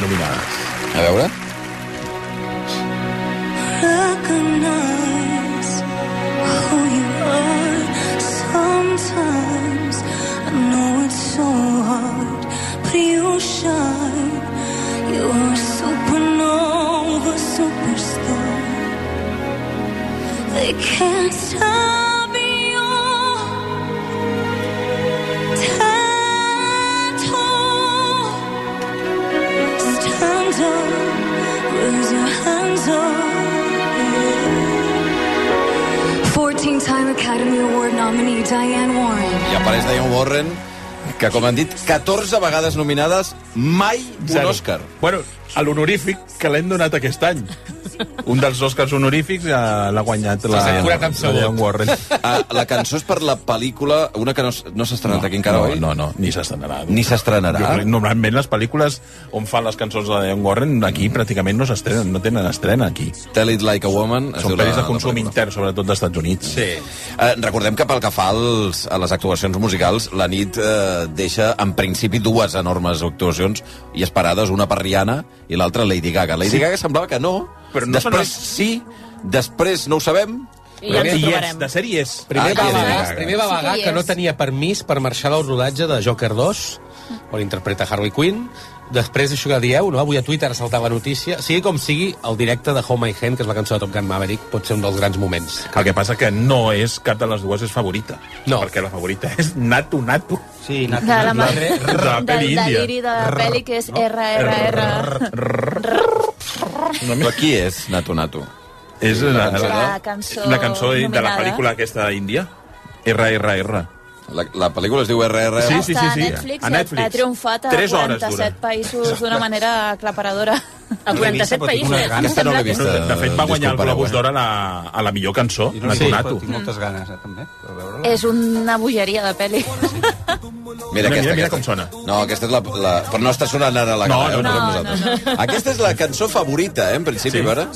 [SPEAKER 5] nominades.
[SPEAKER 1] A veure.
[SPEAKER 18] recognize who Oh, you are. Sometimes I know it's so hard, but you shine. You're a supernova, superstar. They can't stop your tattoo. Stand up, raise your hands up. 14 time Academy Award nominee Diane Warren.
[SPEAKER 1] I apareix Diane Warren, que, com han dit, 14 vegades nominades, mai un
[SPEAKER 5] Zero.
[SPEAKER 1] Òscar.
[SPEAKER 5] Bueno, a l'honorífic que l'hem donat aquest any. Un dels Oscars honorífics eh, l'ha guanyat la,
[SPEAKER 1] S'ha curat
[SPEAKER 5] la
[SPEAKER 1] amb sabó.
[SPEAKER 5] Diane Warren.
[SPEAKER 1] Ah, la cançó és per la pel·lícula, una que no, s- no s'ha estrenat aquí encara,
[SPEAKER 5] no,
[SPEAKER 1] oi?
[SPEAKER 5] No, no, ni s'estrenarà.
[SPEAKER 1] Ni s'estrenarà?
[SPEAKER 5] Jo crec- Normalment les pel·lícules on fan les cançons de Diane Warren aquí pràcticament no s'estrenen, no tenen estrena aquí.
[SPEAKER 1] Tell It Like a Woman. es diu
[SPEAKER 5] Són
[SPEAKER 1] la-
[SPEAKER 5] pel·lis de
[SPEAKER 1] la
[SPEAKER 5] consum
[SPEAKER 1] pel·lícula.
[SPEAKER 5] intern, sobretot dels Estats Units.
[SPEAKER 1] Sí. Eh, recordem que pel que fa als, a les actuacions musicals, la nit eh, deixa en principi dues enormes actuacions i esperades, una per Rihanna i l'altra Lady Gaga. Lady
[SPEAKER 5] Sí.
[SPEAKER 1] sí. Gaga semblava que no,
[SPEAKER 5] Però
[SPEAKER 1] però
[SPEAKER 5] no
[SPEAKER 1] no després
[SPEAKER 5] són
[SPEAKER 1] sí, després no ho sabem.
[SPEAKER 7] I ja ens ho trobarem.
[SPEAKER 5] de sèrie és.
[SPEAKER 3] Primer,
[SPEAKER 1] Ah,
[SPEAKER 3] va
[SPEAKER 1] sí,
[SPEAKER 3] vagar,
[SPEAKER 1] Gaga.
[SPEAKER 3] primer va vagar
[SPEAKER 7] Sí,
[SPEAKER 3] que
[SPEAKER 7] és.
[SPEAKER 3] no tenia permís per marxar del rodatge de Joker 2, on interpreta Harley Quinn. Després, això que dieu, no? avui a Twitter ha saltat la notícia. Sigui com sigui, el directe de Home I Hand, que és la cançó de Top Gun Maverick, pot ser un dels grans moments.
[SPEAKER 5] El que passa que no és cap de les dues és favorita.
[SPEAKER 3] No.
[SPEAKER 5] Perquè la favorita és Nato Nato.
[SPEAKER 2] Sí,
[SPEAKER 4] De la mà, del deliri de la pel·li que és RRR.
[SPEAKER 1] Però qui és Nato Nato?
[SPEAKER 5] És la,
[SPEAKER 4] La
[SPEAKER 5] la,
[SPEAKER 4] cançó
[SPEAKER 5] Eh, la cançó de la
[SPEAKER 4] nominada.
[SPEAKER 5] pel·lícula aquesta índia. RRR.
[SPEAKER 1] La, la pel·lícula es diu RRR?
[SPEAKER 5] Sí, sí, sí.
[SPEAKER 4] Està
[SPEAKER 5] sí.
[SPEAKER 4] a Netflix,
[SPEAKER 5] A Netflix.
[SPEAKER 4] i ha triomfat a
[SPEAKER 5] Tres hores
[SPEAKER 4] 47 països d'una manera aclaparadora.
[SPEAKER 5] Ah,
[SPEAKER 7] A 47 països.
[SPEAKER 1] Aquesta no l'he vista.
[SPEAKER 5] De fet, va guanyar el
[SPEAKER 1] disculpareu,
[SPEAKER 5] Globus
[SPEAKER 1] eh?
[SPEAKER 5] d'Or a, la, a la millor cançó,
[SPEAKER 2] I
[SPEAKER 5] Nato
[SPEAKER 2] sé,
[SPEAKER 5] Nato.
[SPEAKER 1] Mm.
[SPEAKER 2] Tinc moltes ganes, eh, també, per veure-la.
[SPEAKER 4] És una bogeria de pel·li.
[SPEAKER 1] Mira, aquesta,
[SPEAKER 5] mira
[SPEAKER 1] com sona. No, aquesta és la, la... Però no està sonant ara la
[SPEAKER 5] No,
[SPEAKER 1] cara. eh?
[SPEAKER 5] no, no.
[SPEAKER 1] Ho posem nosaltres. Aquesta és la cançó favorita, eh, en principi, sí. a veure.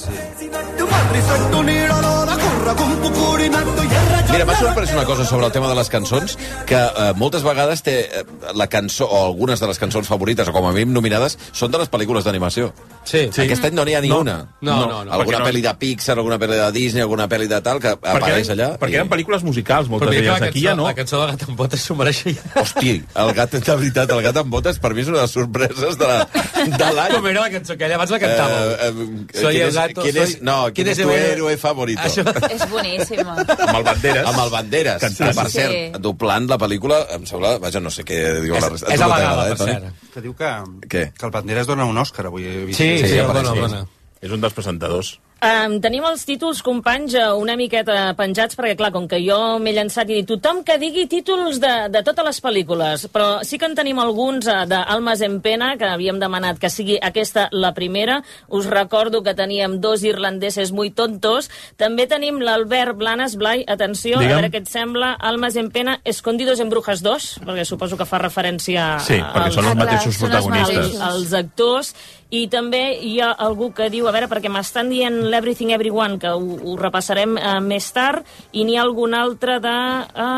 [SPEAKER 1] Mira, m'ha sorprès una cosa sobre el tema de les cançons, que eh, moltes vegades té eh, la cançó, o algunes de les cançons favorites, o com a mínim nominades, són de les pel·lícules d'animació.
[SPEAKER 3] Sí.
[SPEAKER 1] Sí. Aquest any no n'hi ha ni
[SPEAKER 5] No.
[SPEAKER 1] una.
[SPEAKER 3] No, no, no.
[SPEAKER 1] Alguna
[SPEAKER 5] Perquè no.
[SPEAKER 1] pel·li de Pixar, alguna pel·li de Disney, alguna pel·li de tal, que
[SPEAKER 5] Perquè
[SPEAKER 1] apareix
[SPEAKER 5] eren,
[SPEAKER 1] allà.
[SPEAKER 5] perquè eren pel·lícules musicals, moltes
[SPEAKER 3] mira que
[SPEAKER 5] d'elles. Aquí ja no.
[SPEAKER 3] la cançó de Gat en Botes s'ho mereixia.
[SPEAKER 1] Hosti, el gat, de veritat, el gat amb botes, per mi és una de les sorpreses de la- de l'any.
[SPEAKER 3] Com era la cançó aquella? Abans la cantàveu.
[SPEAKER 1] Eh, eh,
[SPEAKER 3] Soy
[SPEAKER 1] ¿quién
[SPEAKER 3] el
[SPEAKER 1] es-
[SPEAKER 3] gato,
[SPEAKER 1] quién es-
[SPEAKER 3] soy-
[SPEAKER 1] no, ¿quién es tu
[SPEAKER 3] el-
[SPEAKER 1] héroe favorito?
[SPEAKER 3] Això...
[SPEAKER 4] És boníssima.
[SPEAKER 5] Amb el Banderes.
[SPEAKER 1] Amb el Banderes,
[SPEAKER 5] Sí, sí,
[SPEAKER 1] que, per
[SPEAKER 4] sí.
[SPEAKER 1] cert, doblant la pel·lícula, em sembla... Vaja, no sé què diu la resta.
[SPEAKER 3] és
[SPEAKER 1] tu no
[SPEAKER 3] amagada,
[SPEAKER 1] t'agrada, eh,
[SPEAKER 3] per
[SPEAKER 1] Toni?
[SPEAKER 3] cert.
[SPEAKER 2] Que diu que,
[SPEAKER 1] Què?
[SPEAKER 2] que el Banderas dona un Òscar, avui. he vist.
[SPEAKER 3] Sí, sí,
[SPEAKER 1] sí,
[SPEAKER 3] el
[SPEAKER 1] apareix,
[SPEAKER 3] dona, el
[SPEAKER 1] sí.
[SPEAKER 3] dona.
[SPEAKER 5] És un dels presentadors.
[SPEAKER 7] Um, tenim els títols, companys, eh, una miqueta penjats, perquè, clar, com que jo m'he llançat i dit tothom que digui títols de, de totes les pel·lícules, però sí que en tenim alguns eh, d'Almes en Pena, que havíem demanat que sigui aquesta la primera. Us recordo que teníem dos irlandeses muy tontos. També tenim l'Albert Blanes, Blai, atenció,
[SPEAKER 5] Digue'm.
[SPEAKER 7] a veure què et sembla, Almes en Pena, Escondidos en Brujas 2, perquè suposo que fa referència a-
[SPEAKER 5] Sí, perquè són els
[SPEAKER 7] als-
[SPEAKER 4] Ah, clar,
[SPEAKER 5] mateixos
[SPEAKER 4] són els
[SPEAKER 5] protagonistes.
[SPEAKER 4] mateixos.
[SPEAKER 7] els, els actors i també hi ha algú que diu, a veure, perquè m'estan dient l'Everything Everyone, que ho, ho repassarem eh, més tard, i n'hi ha algun altre de...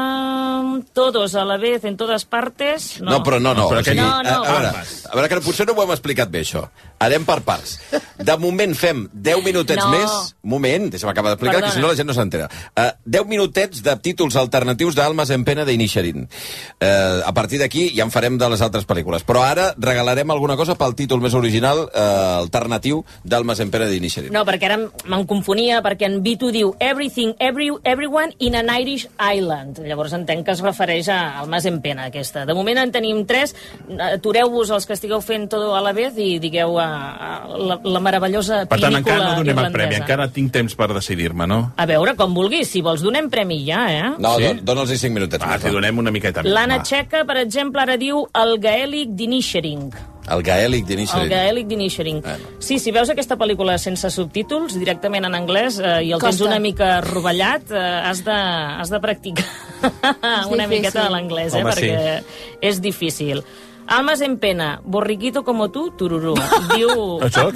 [SPEAKER 7] Eh, todos a la vez, en todas partes...
[SPEAKER 1] No, però no, no.
[SPEAKER 5] No, però
[SPEAKER 1] o sigui,
[SPEAKER 7] aquell-
[SPEAKER 1] a,
[SPEAKER 7] No, no.
[SPEAKER 1] a, veure, a veure, que potser no ho hem explicat bé, això. Anem per parts. De moment fem 10 minutets
[SPEAKER 7] No.
[SPEAKER 1] més... Moment, deixa'm acabar d'explicar,
[SPEAKER 7] Perdona.
[SPEAKER 1] que si no la gent no s'entera. Uh, 10 minutets de títols alternatius d'Almes en pena d'Inisherin. Uh, a partir d'aquí ja en farem de les altres pel·lícules. Però ara regalarem alguna cosa pel títol més original uh, alternatiu d'Almes en pena d'Inisherin.
[SPEAKER 7] No, perquè ara em- me'n confonia, perquè en Vito diu Everything, every, Everyone in an Irish Island. Llavors entenc que es refereix a- al Mas en Pena, aquesta. De moment en tenim tres. Atureu-vos els que estigueu fent tot a la vez i digueu a, a la, la meravellosa
[SPEAKER 5] Per tant, encara no
[SPEAKER 7] pinícola
[SPEAKER 5] donem el
[SPEAKER 7] irlandesa.
[SPEAKER 5] premi, encara tinc temps per decidir-me, no?
[SPEAKER 7] A veure, com vulguis, si vols donem premi ja, eh?
[SPEAKER 1] No,
[SPEAKER 5] Sí?
[SPEAKER 1] sí? dona'ls 5 minutets.
[SPEAKER 5] Va,
[SPEAKER 1] més,
[SPEAKER 5] t'hi
[SPEAKER 1] va.
[SPEAKER 5] donem una miqueta més.
[SPEAKER 7] L'Anna
[SPEAKER 5] va.
[SPEAKER 7] Txeca, per exemple, ara diu el gaèlic d'Inishering.
[SPEAKER 1] El gaèlic
[SPEAKER 7] El
[SPEAKER 1] d'Inisherin.
[SPEAKER 7] gaèlic d'Inishering. Sí, si veus aquesta pel·lícula sense subtítols, directament en anglès, eh, i el tens
[SPEAKER 4] Costa.
[SPEAKER 7] una mica rovellat, eh, has, de, has de practicar una
[SPEAKER 4] difícil.
[SPEAKER 7] miqueta de l'anglès, eh,
[SPEAKER 3] Home, sí.
[SPEAKER 7] perquè és difícil. Almas en pena, borriquito como tú, tururú. Diu...
[SPEAKER 5] Això?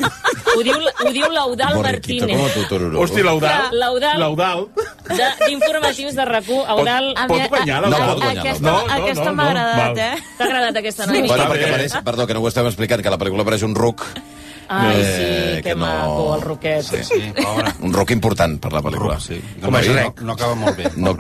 [SPEAKER 7] Ho diu, ho diu l'Audal
[SPEAKER 1] Borriquito
[SPEAKER 7] Martínez.
[SPEAKER 1] como tu, Tururú.
[SPEAKER 5] Hosti, l'Audal.
[SPEAKER 7] L'Audal.
[SPEAKER 5] L'Audal.
[SPEAKER 7] de- D'informatius de RAC1, Audal...
[SPEAKER 5] Pot- pot guanyar l'Audal.
[SPEAKER 1] No, pot guanyar
[SPEAKER 7] Aquesta-
[SPEAKER 1] l'Audal. No, no,
[SPEAKER 7] Aquesta
[SPEAKER 1] no,
[SPEAKER 7] m'ha
[SPEAKER 1] no.
[SPEAKER 7] agradat,
[SPEAKER 1] Val.
[SPEAKER 7] eh? T'ha agradat aquesta, Noemi?
[SPEAKER 1] Bueno, perquè apareix, perdó, que no ho estem explicant, que a la pel·lícula apareix un ruc.
[SPEAKER 7] Ai, sí,
[SPEAKER 1] Eh,
[SPEAKER 7] que, maco, el roquet.
[SPEAKER 1] Sí, sí, pobre. Un ruc important per la pel·lícula. Ruc, sí.
[SPEAKER 2] Com és rec. No, no acaba molt bé.
[SPEAKER 1] No,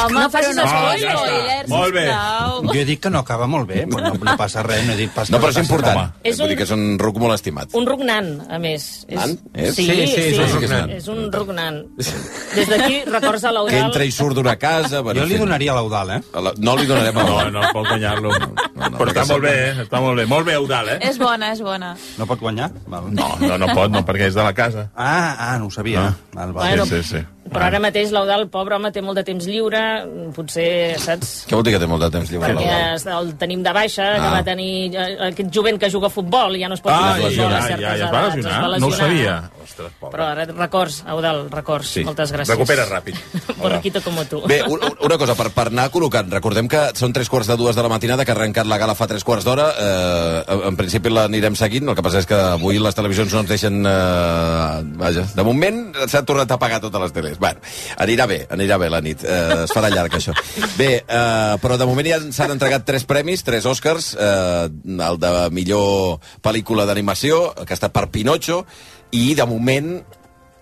[SPEAKER 4] Home, no facis
[SPEAKER 2] no,
[SPEAKER 1] Ah,
[SPEAKER 4] els
[SPEAKER 2] ja està.
[SPEAKER 4] spoilers,
[SPEAKER 2] Molt bé.
[SPEAKER 4] sisplau.
[SPEAKER 2] Jo he dit que no acaba molt bé, però no, no passa res, no he dit pas
[SPEAKER 1] no
[SPEAKER 2] que
[SPEAKER 1] però és
[SPEAKER 2] passi,
[SPEAKER 1] important.
[SPEAKER 2] home.
[SPEAKER 7] És
[SPEAKER 1] És Vull
[SPEAKER 7] un-
[SPEAKER 1] dir que és un ruc molt estimat.
[SPEAKER 7] Un ruc nan, a més. És...
[SPEAKER 1] Nan? És?
[SPEAKER 7] Sí, sí,
[SPEAKER 1] Sí,
[SPEAKER 7] sí,
[SPEAKER 1] sí, és un ruc nan.
[SPEAKER 7] és un ruc nan. Des d'aquí, records a
[SPEAKER 1] Que
[SPEAKER 7] l'Audal.
[SPEAKER 1] entra i surt d'una casa... Bueno,
[SPEAKER 2] Jo li donaria
[SPEAKER 1] a
[SPEAKER 2] l'Audal, eh?
[SPEAKER 1] No li donarem a
[SPEAKER 5] No,
[SPEAKER 1] l'Audal.
[SPEAKER 5] no, pot guanyar-lo. Però està
[SPEAKER 1] perquè
[SPEAKER 5] molt bé, eh? Està molt bé. Molt bé, Eudal, eh?
[SPEAKER 4] És bona, és bona.
[SPEAKER 2] No pot guanyar? Val.
[SPEAKER 5] No, no, no pot, no, perquè és de la casa.
[SPEAKER 2] Ah, ah, no ho sabia.
[SPEAKER 5] Ah.
[SPEAKER 2] Val, val.
[SPEAKER 7] Bueno,
[SPEAKER 5] Sí, sí, sí.
[SPEAKER 7] Però ara mateix l'Audal, pobre home, té molt de temps lliure, potser, saps,
[SPEAKER 1] Què vol dir que té molt de temps lliure
[SPEAKER 7] perquè
[SPEAKER 1] l'Audal?
[SPEAKER 7] es- el tenim de baixa, ah. que
[SPEAKER 1] Ah.
[SPEAKER 7] va tenir eh, aquest jovent que juga a futbol, i ja no es pot jugar
[SPEAKER 5] Ah,
[SPEAKER 7] a
[SPEAKER 5] ja,
[SPEAKER 7] futbol a
[SPEAKER 5] ja,
[SPEAKER 7] certes
[SPEAKER 5] ja, ja es va
[SPEAKER 7] edats, es va
[SPEAKER 5] lesionar. No ho
[SPEAKER 7] lesionar.
[SPEAKER 5] sabia. Ostres, pobre.
[SPEAKER 7] Però ara records, Audal, records.
[SPEAKER 1] Sí.
[SPEAKER 7] Moltes gràcies.
[SPEAKER 5] Recupera ràpid.
[SPEAKER 7] Borriquito como tu.
[SPEAKER 1] Bé, u- u- una cosa, per, per anar col·locant, recordem que són tres quarts de dues de la matinada, que ha arrencat la gala fa tres quarts d'hora, eh, en principi l'anirem seguint, el que passa és que avui les televisions no ens deixen... Eh, vaja, de moment s'ha tornat a apagar totes les teles. Bueno, anirà bé, anirà bé la nit, eh, es farà llarg això. Bé, eh, però de moment ja s'han entregat tres premis, tres Oscars, eh, el de millor pel·lícula d'animació, que ha estat per Pinocho, i de moment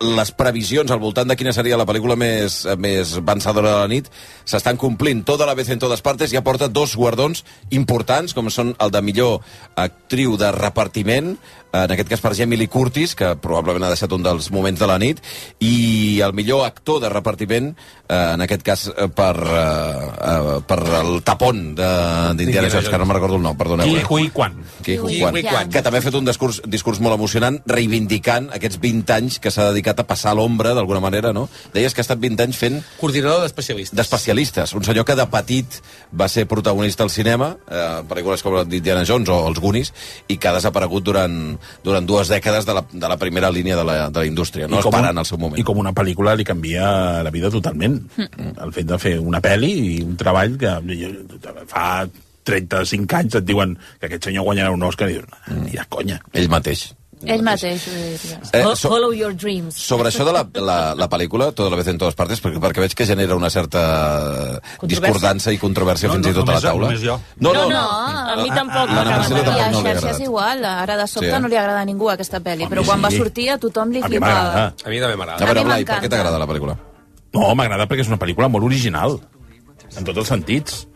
[SPEAKER 1] les previsions al voltant de quina seria la pel·lícula més, eh, més avançadora de la nit s'estan complint tota la vez en totes partes i aporta dos guardons importants com són el de millor actriu de repartiment en aquest cas per Jamie Lee Curtis que probablement ha deixat un dels moments de la nit i el millor actor de repartiment eh, en aquest cas eh, per, eh, eh, per el tapon de- d'Indiana Jones que no me'n recordo el nom, perdoneu
[SPEAKER 5] Qui,
[SPEAKER 1] eh?
[SPEAKER 5] qui, quan?
[SPEAKER 1] Qui
[SPEAKER 5] Qui,
[SPEAKER 1] Juan,
[SPEAKER 5] qui, quan?
[SPEAKER 1] que també ha fet un discurs, discurs molt emocionant reivindicant aquests 20 anys que s'ha dedicat a passar a l'ombra, d'alguna manera, no? Deies que ha estat 20 anys fent...
[SPEAKER 3] Coordinador d'especialistes.
[SPEAKER 1] D'especialistes. Un senyor que de petit va ser protagonista al cinema, eh, pel·lícules com Indiana Jones o els Goonies, i que ha desaparegut durant, durant dues dècades de la, de la primera línia de la, de la indústria, no
[SPEAKER 5] I com
[SPEAKER 1] esperant al
[SPEAKER 5] un-
[SPEAKER 1] seu moment.
[SPEAKER 5] I com una pel·lícula li canvia la vida totalment. El fet de fer una pel·li i un treball que fa 35 anys et diuen que aquest senyor guanyarà un Òscar i dius, mira, conya.
[SPEAKER 1] Ell mateix.
[SPEAKER 4] Ell mateix ho diria.
[SPEAKER 1] Eh, so-
[SPEAKER 7] Follow your dreams.
[SPEAKER 1] Sobre això de la, la, la pel·lícula, tota la vez en totes partes, perquè, perquè veig que genera una certa discordança i controvèrsia
[SPEAKER 2] No,
[SPEAKER 1] fins
[SPEAKER 2] no,
[SPEAKER 1] i tot a
[SPEAKER 2] només
[SPEAKER 1] la
[SPEAKER 2] jo,
[SPEAKER 1] taula.
[SPEAKER 2] només jo.
[SPEAKER 1] No, no,
[SPEAKER 4] no,
[SPEAKER 1] no.
[SPEAKER 4] a mi
[SPEAKER 1] Ah,
[SPEAKER 4] tampoc
[SPEAKER 1] ah,
[SPEAKER 4] m'ha
[SPEAKER 1] la Marcela
[SPEAKER 4] agradat. I a
[SPEAKER 1] tampoc no li ha
[SPEAKER 4] xarxes
[SPEAKER 1] agradat.
[SPEAKER 4] igual, ara de sobte
[SPEAKER 1] Sí.
[SPEAKER 4] no li agrada a ningú aquesta pel·li, però quan va sortir a tothom li
[SPEAKER 5] A mi
[SPEAKER 4] flipava.
[SPEAKER 5] m'agrada.
[SPEAKER 3] A mi també
[SPEAKER 1] A veure,
[SPEAKER 4] A mi
[SPEAKER 1] Blai, per què
[SPEAKER 4] m'encanta.
[SPEAKER 1] t'agrada la pel·lícula?
[SPEAKER 5] No, m'agrada perquè és una pel·lícula molt original. En tots els sentits.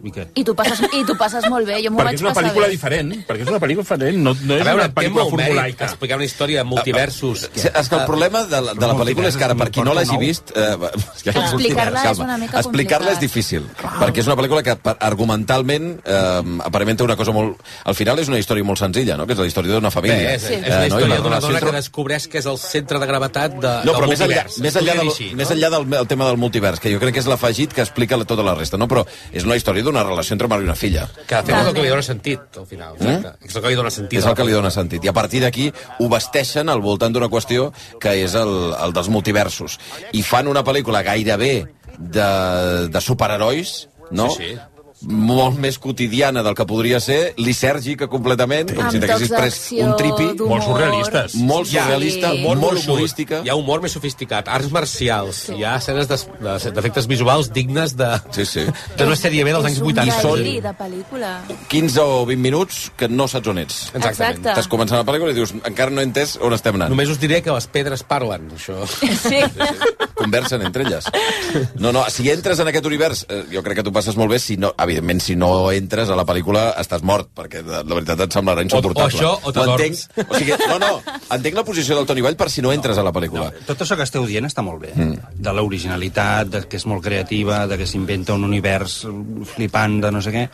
[SPEAKER 4] I tu passes, i tu passes molt bé, jo m'ho
[SPEAKER 5] Perquè
[SPEAKER 4] vaig
[SPEAKER 5] és una
[SPEAKER 4] passar
[SPEAKER 5] pel·lícula
[SPEAKER 4] bé.
[SPEAKER 5] diferent. Perquè és una pel·lícula diferent. No, no
[SPEAKER 3] A
[SPEAKER 5] és
[SPEAKER 3] veure,
[SPEAKER 5] una
[SPEAKER 3] té
[SPEAKER 5] pel·lícula
[SPEAKER 3] molt mèrit
[SPEAKER 5] formulaica.
[SPEAKER 3] explicar una història de multiversos.
[SPEAKER 1] Sí, és que el problema de la, de la pel·lícula és que ara, per qui no l'hagi vist... Eh, va- és que
[SPEAKER 4] Explicar-la
[SPEAKER 1] multivers,
[SPEAKER 4] és
[SPEAKER 1] calma.
[SPEAKER 4] una mica
[SPEAKER 1] Explicar-la és
[SPEAKER 4] complicat.
[SPEAKER 1] difícil, perquè és una pel·lícula que per- argumentalment eh, aparenta una cosa molt... Al final és una història molt senzilla, no? que és la història d'una família.
[SPEAKER 3] Bé, és,
[SPEAKER 1] Eh,
[SPEAKER 3] és una
[SPEAKER 1] no? I
[SPEAKER 3] història
[SPEAKER 1] la
[SPEAKER 3] d'una
[SPEAKER 1] relació
[SPEAKER 3] dona
[SPEAKER 1] entre-
[SPEAKER 3] que descobreix que és el centre de gravetat de,
[SPEAKER 1] no,
[SPEAKER 3] Ah, del
[SPEAKER 1] però més enllà,
[SPEAKER 3] multivers.
[SPEAKER 1] més enllà,
[SPEAKER 3] Podria
[SPEAKER 1] del,
[SPEAKER 3] dir així,
[SPEAKER 1] més enllà del el tema del multivers, que jo crec que és l'afegit que explica la- tota la resta, no? però és una història d'una relació entre mare i una filla.
[SPEAKER 3] Que de fet és el que li dona sentit, al final. Exacte. És el que li dona sentit.
[SPEAKER 1] Eh? És el que li dona sentit. I a partir d'aquí ho vesteixen al voltant d'una qüestió que és el, el dels multiversos. I fan una pel·lícula gairebé de, de superherois, no?
[SPEAKER 3] Sí, sí.
[SPEAKER 1] molt més quotidiana del que podria ser, lisèrgica completament, com
[SPEAKER 4] Amb
[SPEAKER 1] si t'haguessis
[SPEAKER 4] tocs
[SPEAKER 1] pres
[SPEAKER 4] d'acció,
[SPEAKER 1] un tripi.
[SPEAKER 4] d'humor. Molt surrealistes.
[SPEAKER 1] Molt
[SPEAKER 4] Sí.
[SPEAKER 1] surrealista,
[SPEAKER 4] Sí.
[SPEAKER 1] molt, molt
[SPEAKER 3] gruixut,
[SPEAKER 1] humorística.
[SPEAKER 3] Hi ha humor més sofisticat, arts marcials, hi ha escenes d'es- de- d'efectes visuals dignes de,
[SPEAKER 1] sí, sí.
[SPEAKER 3] d'una sèrie B dels anys 80.
[SPEAKER 4] És un
[SPEAKER 3] Són-
[SPEAKER 4] deliri de pel·lícula.
[SPEAKER 1] 15 o 20 minuts que no saps on ets.
[SPEAKER 4] Exactament. Exacte.
[SPEAKER 1] Estàs començant la pel·lícula i dius, encara no he entès on estem anant.
[SPEAKER 3] Només us diré que les pedres parlen, això.
[SPEAKER 4] Sí.
[SPEAKER 1] conversen entre elles. No, no, si entres en aquest univers, eh, jo crec que t'ho passes molt bé, si no, evidentment, si no entres a la pel·lícula estàs mort, perquè de- la veritat et semblarà insuportable.
[SPEAKER 3] o això, o
[SPEAKER 1] Ho
[SPEAKER 3] t'adorms.
[SPEAKER 1] entenc. O sigui, no, no, entenc la posició del Toni Vall per si no entres a la pel·lícula.
[SPEAKER 2] Tot això que esteu dient està molt bé. Mm. De l'originalitat, de que és molt creativa, de que s'inventa un univers flipant de no sé què.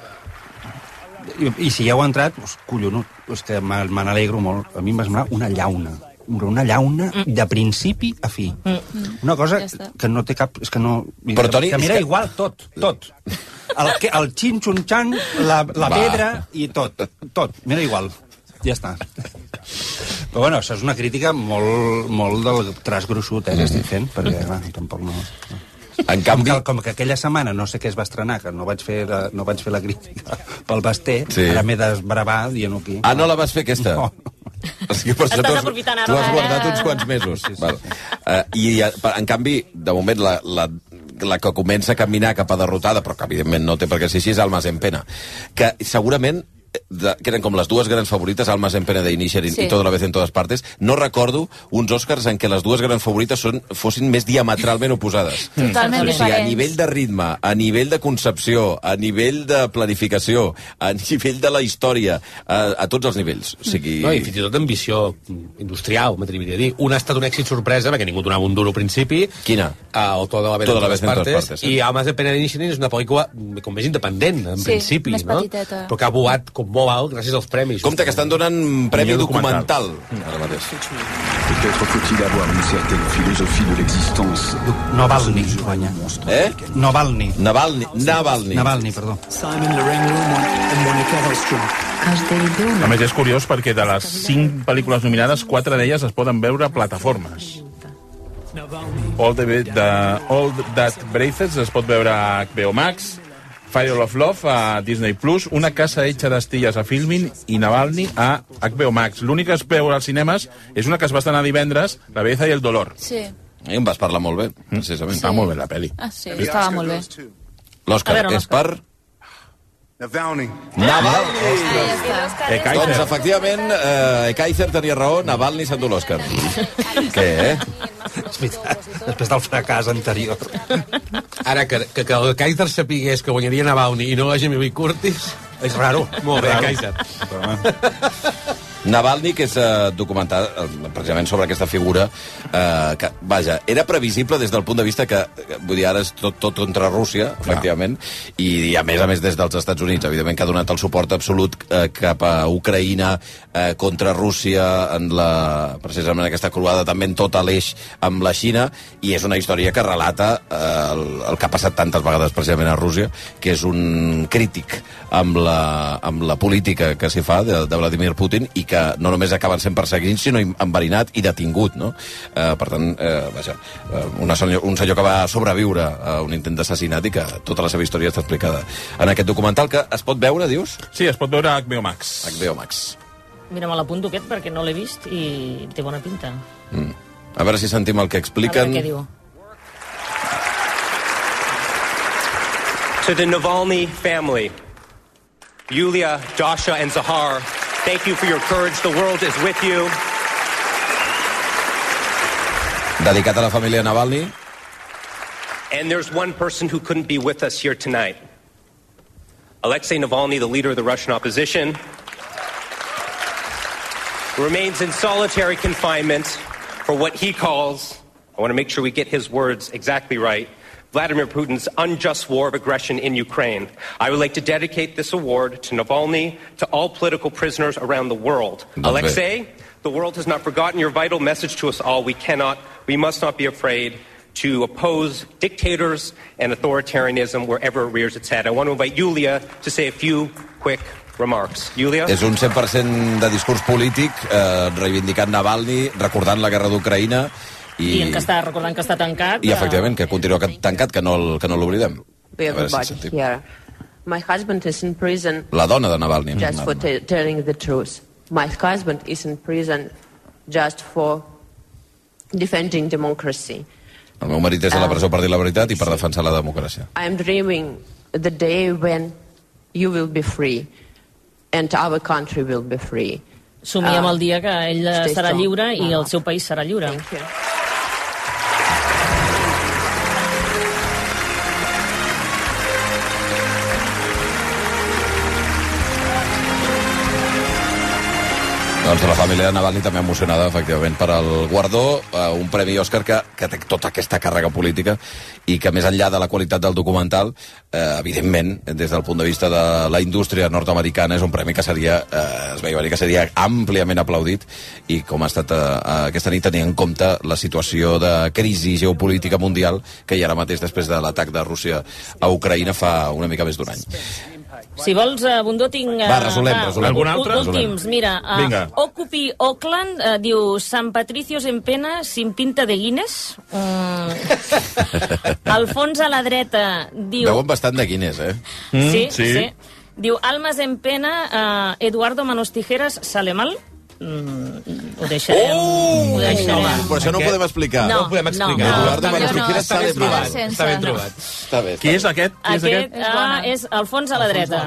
[SPEAKER 2] I, i si hi heu entrat, us, collonut, és que me, me n'alegro molt. A mi em va semblar una llauna. Una llauna
[SPEAKER 7] Mm.
[SPEAKER 2] de principi a fi. Mm. Una cosa
[SPEAKER 4] Ja està.
[SPEAKER 2] que no té cap... És que no...
[SPEAKER 1] Però, Toni,
[SPEAKER 2] que
[SPEAKER 1] és
[SPEAKER 2] m'era
[SPEAKER 1] que-
[SPEAKER 2] igual tot, tot. El, que- el xin-xun-xan, la, la
[SPEAKER 1] Va.
[SPEAKER 2] pedra i tot. Tot, m'era igual. Ja està. Però bueno, això és una crítica molt, molt del traç gruixut eh, que estic fent, perquè clar, tampoc no... no.
[SPEAKER 1] En
[SPEAKER 2] Com
[SPEAKER 1] canvi...
[SPEAKER 2] que, com que aquella setmana no sé què es va estrenar, que no vaig fer la, no vaig fer la crítica pel Basté, sí.
[SPEAKER 1] Sí.
[SPEAKER 2] ara m'he desbravar dient aquí.
[SPEAKER 1] Ah, no la vas fer, aquesta?
[SPEAKER 2] No.
[SPEAKER 1] O sigui, per això
[SPEAKER 2] Estàs
[SPEAKER 1] t'has-
[SPEAKER 2] aprofitant ara, Ah.
[SPEAKER 1] t'ho has
[SPEAKER 2] ara.
[SPEAKER 1] guardat uns quants mesos. Val. Eh, I, eh, per- en canvi, de moment, la, la, la que comença a caminar cap a derrotada, però que evidentment no té per què ser així, és Almas en Pena, que segurament eh, de, que eren com les dues grans favorites, Almas en Pena de Inisherin
[SPEAKER 19] Sí.
[SPEAKER 1] sí. i Toda la vez en todas partes, no recordo uns Oscars en què les dues grans favorites són, fossin més diametralment oposades.
[SPEAKER 4] Totalment
[SPEAKER 1] Mm. o sigui, a
[SPEAKER 4] diferents.
[SPEAKER 1] nivell de ritme, a nivell de concepció, a nivell de planificació, a nivell de la història, a, a tots els nivells. O sigui...
[SPEAKER 3] No, I fins i tot d'ambició industrial, m'atreviria a dir. Una ha estat un èxit sorpresa, perquè ningú donava un duro al principi.
[SPEAKER 1] Quina?
[SPEAKER 3] Uh, o Toda la vez
[SPEAKER 1] Toda
[SPEAKER 3] en
[SPEAKER 1] la
[SPEAKER 3] todas
[SPEAKER 1] vez en todas
[SPEAKER 3] partes.
[SPEAKER 1] partes, eh?
[SPEAKER 3] I Almas de Pena de Nishirin és una pel·lícula mm, com més independent, en
[SPEAKER 4] Sí,
[SPEAKER 3] principi.
[SPEAKER 4] més
[SPEAKER 3] no?
[SPEAKER 4] petiteta.
[SPEAKER 3] Però que ha voat com molt alt gràcies als premis.
[SPEAKER 1] Compte que estan donant premi documental.
[SPEAKER 20] Peut-être faut-il avoir une certaine philosophie de l'existence.
[SPEAKER 2] Navalny, guanya.
[SPEAKER 1] Eh?
[SPEAKER 2] Navalny.
[SPEAKER 1] Navalny. Navalny.
[SPEAKER 2] Navalny, perdó.
[SPEAKER 13] Simon and Monica Ostrom.
[SPEAKER 5] A més, és curiós perquè de les 5 pel·lícules nominades, 4 d'elles es poden veure a plataformes. All, the, the, All That Braithers es pot veure a HBO Max, Fire of Love a Disney+, Plus, Una casa hecha d'estilles a Filmin i Navalny a HBO Max. L'única que es veu als cinemes és una que es va estrenar divendres, La belleza i el dolor. Mm.
[SPEAKER 4] Sí.
[SPEAKER 1] I en vas parlar molt bé, precisament.
[SPEAKER 4] Està molt bé
[SPEAKER 5] la pel·li.
[SPEAKER 4] Ah, sí, estava molt bé.
[SPEAKER 1] L'Òscar
[SPEAKER 4] A veure,
[SPEAKER 1] és per...
[SPEAKER 9] Navalny.
[SPEAKER 1] Navalny. Eh, doncs, efectivament, eh, Kaiser tenia raó, Navalny s'endú l'Òscar. Què, eh?
[SPEAKER 2] És veritat, després del fracàs anterior.
[SPEAKER 3] Ara, que, que, que el Kaiser sapigués que guanyaria Navalny i no a Jimmy Lee Curtis...
[SPEAKER 2] És raro.
[SPEAKER 3] Molt bé,
[SPEAKER 1] Raro.
[SPEAKER 3] Kaiser.
[SPEAKER 1] Navalny, que és eh, documentat eh, precisament sobre aquesta figura, eh, que, vaja, era previsible des del punt de vista que, eh, vull dir, ara és tot, tot contra Rússia, efectivament, i, i a més a més des dels Estats Units, evidentment, que ha donat el suport absolut eh, cap a Ucraïna, eh, contra Rússia, en la, precisament aquesta croada, també en tot l'eix amb la Xina, i és una història que relata eh, el, el que ha passat tantes vegades precisament a Rússia, que és un crític amb la, amb la política que s'hi fa de, de Vladimir Putin i que no només acaben sent perseguits, sinó enverinat i detingut, no? Eh, per tant, eh, vaja, eh, una senyor, un senyor que va sobreviure a un intent d'assassinat i que tota la seva història està explicada en aquest documental que es pot veure, dius?
[SPEAKER 5] Sí, es pot veure a HBO Max.
[SPEAKER 1] HBO Max.
[SPEAKER 7] Mira, me l'apunto aquest perquè no l'he vist i té bona pinta. A
[SPEAKER 1] A veure si sentim el que
[SPEAKER 7] veure
[SPEAKER 1] expliquen.
[SPEAKER 7] què diu.
[SPEAKER 21] To the Navalny family, Yulia, Dasha, and Zahar, thank you for your courage. The world is with you.
[SPEAKER 1] Dedicat a la família Navalny.
[SPEAKER 21] And there's one person who couldn't be with us here tonight Alexei Navalny, the leader of the Russian opposition, remains in solitary confinement for what he calls, I want to make sure we get his words exactly right. Vladimir Putin's unjust war of aggression in Ukraine. I would like to dedicate this award to Navalny, to all political prisoners around the world.
[SPEAKER 1] Lovely.
[SPEAKER 21] Alexei, the world has not forgotten your vital message to us all. We cannot, we must not be afraid to oppose dictators and authoritarianism wherever it rears its head. I want to invite Yulia to say a few quick remarks. Yulia?
[SPEAKER 1] És un 100% de discurs polític, eh, reivindicant Navalny, recordant la guerra d'Ucraïna
[SPEAKER 7] I...
[SPEAKER 1] i,
[SPEAKER 7] Dient que està, recordant que està tancat. eh,
[SPEAKER 1] i, efectivament, que continua ca- tancat, que no, el- que no l'oblidem.
[SPEAKER 22] be
[SPEAKER 1] A veure si
[SPEAKER 22] everybody
[SPEAKER 1] sentim.
[SPEAKER 22] here. My husband is in prison
[SPEAKER 1] La dona de Navalny.
[SPEAKER 22] just for t- telling the truth. My husband is in prison just for defending democracy.
[SPEAKER 1] El meu marit és a la presó per dir la veritat i per defensar la democràcia.
[SPEAKER 22] I am dreaming the day when you will be free and our country will be free. Uh,
[SPEAKER 7] Somia
[SPEAKER 22] Ah.
[SPEAKER 7] amb el dia que ell
[SPEAKER 22] stay
[SPEAKER 7] estarà
[SPEAKER 22] strong,
[SPEAKER 7] lliure i
[SPEAKER 22] mama.
[SPEAKER 7] el seu país serà lliure.
[SPEAKER 1] Doncs la família de Navalny també emocionada, efectivament, per al guardó, eh, un premi Òscar que, que té tota aquesta càrrega política i que, més enllà de la qualitat del documental, eh, evidentment, des del punt de vista de la indústria nord-americana, és un premi que seria, eh, es veia venir que seria àmpliament aplaudit i com ha estat eh, aquesta nit tenint en compte la situació de crisi geopolítica mundial que hi ha ara mateix després de l'atac de Rússia a Ucraïna fa una mica més d'un any.
[SPEAKER 7] Si vols, eh, Bundó, tinc... eh,
[SPEAKER 1] Va, resolem, resolem.
[SPEAKER 5] Algun altre?
[SPEAKER 7] Últims,
[SPEAKER 5] Resolem.
[SPEAKER 7] mira. eh,
[SPEAKER 5] Vinga.
[SPEAKER 7] Occupy Oakland, eh, diu San Patricios en pena, sin pinta de Guinness. Mm. Alfons a la dreta, diu...
[SPEAKER 1] Veuen bastant de Guinness, eh?
[SPEAKER 7] Sí, Mm, sí. Diu, almas en pena, eh, Eduardo Manos Tijeras sale mal. Mm, ho deixarem.
[SPEAKER 1] Oh!
[SPEAKER 7] ho deixarem.
[SPEAKER 1] no, però això no ho podem explicar.
[SPEAKER 7] No, No ho podem explicar. no.
[SPEAKER 1] Eduardo
[SPEAKER 7] No,
[SPEAKER 1] Manos
[SPEAKER 7] no,
[SPEAKER 1] Tijeras
[SPEAKER 7] està
[SPEAKER 1] sale
[SPEAKER 7] ben
[SPEAKER 1] mal.
[SPEAKER 7] trobat, està ben trobat.
[SPEAKER 1] Està bé. Qui és aquest?
[SPEAKER 7] Aquest
[SPEAKER 5] aquest?
[SPEAKER 7] ah, és Alfons a la dreta,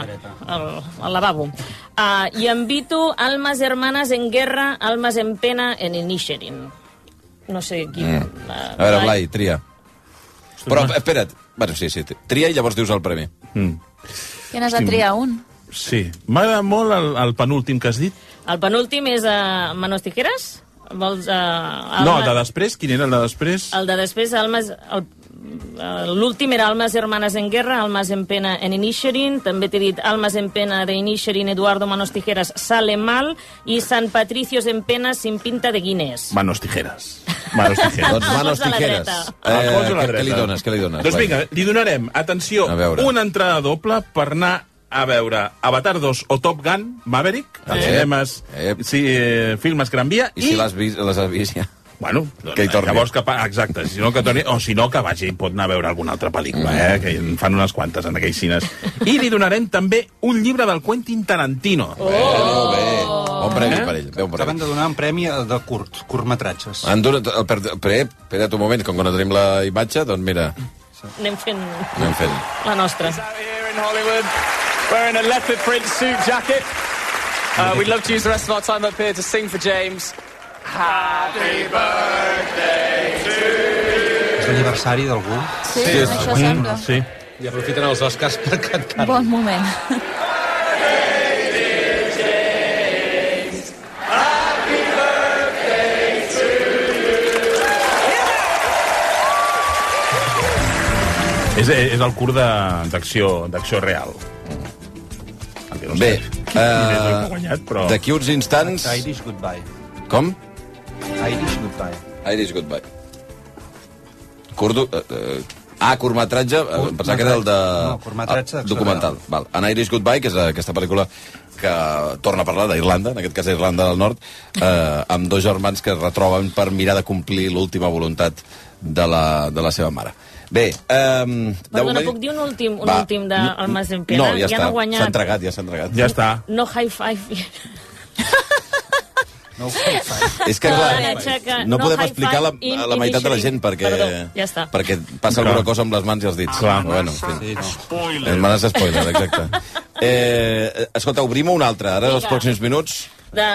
[SPEAKER 7] al, al lavabo. Ah, I en Vito, almas hermanas en guerra, almas en pena, en inisherin. No sé qui...
[SPEAKER 1] Mm.
[SPEAKER 7] ah,
[SPEAKER 1] A veure, Blai, tria. Però, espera't. Bueno, sí, sí. Tria i llavors dius el premi.
[SPEAKER 4] Tienes de triar un.
[SPEAKER 5] Sí. M'agrada molt el, el penúltim que has dit.
[SPEAKER 7] El penúltim és a Manos Tijeras. Vols, ah, a,
[SPEAKER 5] No, el de després. Quin era el de després?
[SPEAKER 7] El de després, Almas... El, eh, L'últim era Almas Hermanas en Guerra, Almas en Pena en Inisherin, també t'he dit Almas en Pena de Inisherin, Eduardo Manos Tijeras sale mal, i San Patricios en Pena sin pinta de Guinness.
[SPEAKER 5] Manos tijeras. Manos tijeras.
[SPEAKER 1] Doncs manos
[SPEAKER 7] Alfons a la
[SPEAKER 1] tijeres. Eh,
[SPEAKER 7] dreta.
[SPEAKER 5] Alfons a la
[SPEAKER 1] què, què li
[SPEAKER 5] dreta.
[SPEAKER 1] dones? Què li dones?
[SPEAKER 5] Doncs
[SPEAKER 1] Blai?
[SPEAKER 5] vinga, li donarem, atenció,
[SPEAKER 1] veure.
[SPEAKER 5] una entrada doble per anar a veure Avatar 2 o Top Gun, Maverick, als
[SPEAKER 1] Ep.
[SPEAKER 5] cinemes, sí, eh, filmes Gran Via,
[SPEAKER 1] Ah, I si l'has vist, les has vist ja.
[SPEAKER 5] Bueno,
[SPEAKER 1] que hi torni.
[SPEAKER 5] Llavors, que, pa- exacte, si no que torni, o si no que vagi, pot anar a veure alguna altra pel·lícula,
[SPEAKER 1] Mm.
[SPEAKER 5] eh? que en fan unes quantes en aquells cines. I li donarem també un llibre del Quentin Tarantino. Eh? Oh! Bé,
[SPEAKER 1] Bon
[SPEAKER 7] Eh?
[SPEAKER 1] premi per ell. Déu,
[SPEAKER 2] Acaben de donar un premi eh, de curt, curtmetratges.
[SPEAKER 1] En dura, el, per, pre, espera't un moment, com que no tenim la imatge, doncs mira,
[SPEAKER 7] Anem fent
[SPEAKER 1] anem fent.
[SPEAKER 7] la nostra.
[SPEAKER 10] here in Hollywood, wearing a leopard print suit jacket. Uh, we'd love to use the rest of our time up here to sing for James. Happy birthday
[SPEAKER 2] És l'aniversari d'algú?
[SPEAKER 4] Sí, Sí, és- això sembla.
[SPEAKER 5] Sí.
[SPEAKER 3] I aprofiten els Oscars per cantar.
[SPEAKER 4] Bon moment.
[SPEAKER 5] És, és el curt de- d'acció d'acció real.
[SPEAKER 1] Bé,
[SPEAKER 5] diners
[SPEAKER 1] eh,
[SPEAKER 5] guanyat, però-
[SPEAKER 1] d'aquí uns instants...
[SPEAKER 2] Irish Goodbye.
[SPEAKER 1] Com?
[SPEAKER 2] Irish Goodbye.
[SPEAKER 1] Irish Goodbye. Curdo... Eh, eh, ah, curtmetratge, eh, em pensava que era el de...
[SPEAKER 2] No, curtmetratge
[SPEAKER 1] ah,
[SPEAKER 2] d'acció
[SPEAKER 1] documental. Val. An Irish Goodbye, que és eh, aquesta pel·lícula que torna a parlar d'Irlanda, en aquest cas Irlanda del Nord, eh, amb dos germans que es retroben per mirar de complir l'última voluntat de la, de la seva mare. Bé, eh, de
[SPEAKER 7] Perdona,
[SPEAKER 1] moment...
[SPEAKER 7] puc dir un últim, un
[SPEAKER 1] Va,
[SPEAKER 7] últim de Almas
[SPEAKER 1] No,
[SPEAKER 7] en Pena?
[SPEAKER 1] ja, està.
[SPEAKER 7] no ha guanyat.
[SPEAKER 1] S'ha entregat, ja s'ha entregat.
[SPEAKER 5] Ja està.
[SPEAKER 7] No high five.
[SPEAKER 2] No,
[SPEAKER 1] És que,
[SPEAKER 7] No,
[SPEAKER 1] clar,
[SPEAKER 7] aixeca,
[SPEAKER 1] no
[SPEAKER 7] no
[SPEAKER 1] podem
[SPEAKER 7] high
[SPEAKER 1] explicar la,
[SPEAKER 7] five in
[SPEAKER 1] la meitat de la gent
[SPEAKER 7] initiating.
[SPEAKER 1] perquè,
[SPEAKER 7] Perdó, ja està.
[SPEAKER 1] perquè passa alguna cosa amb les mans i els dits. Clar. Bueno, sí. Hermanes spoiler, exacte. Eh, escolta, obrim un altre, ara, els
[SPEAKER 7] Vinga.
[SPEAKER 1] pròxims minuts.
[SPEAKER 7] De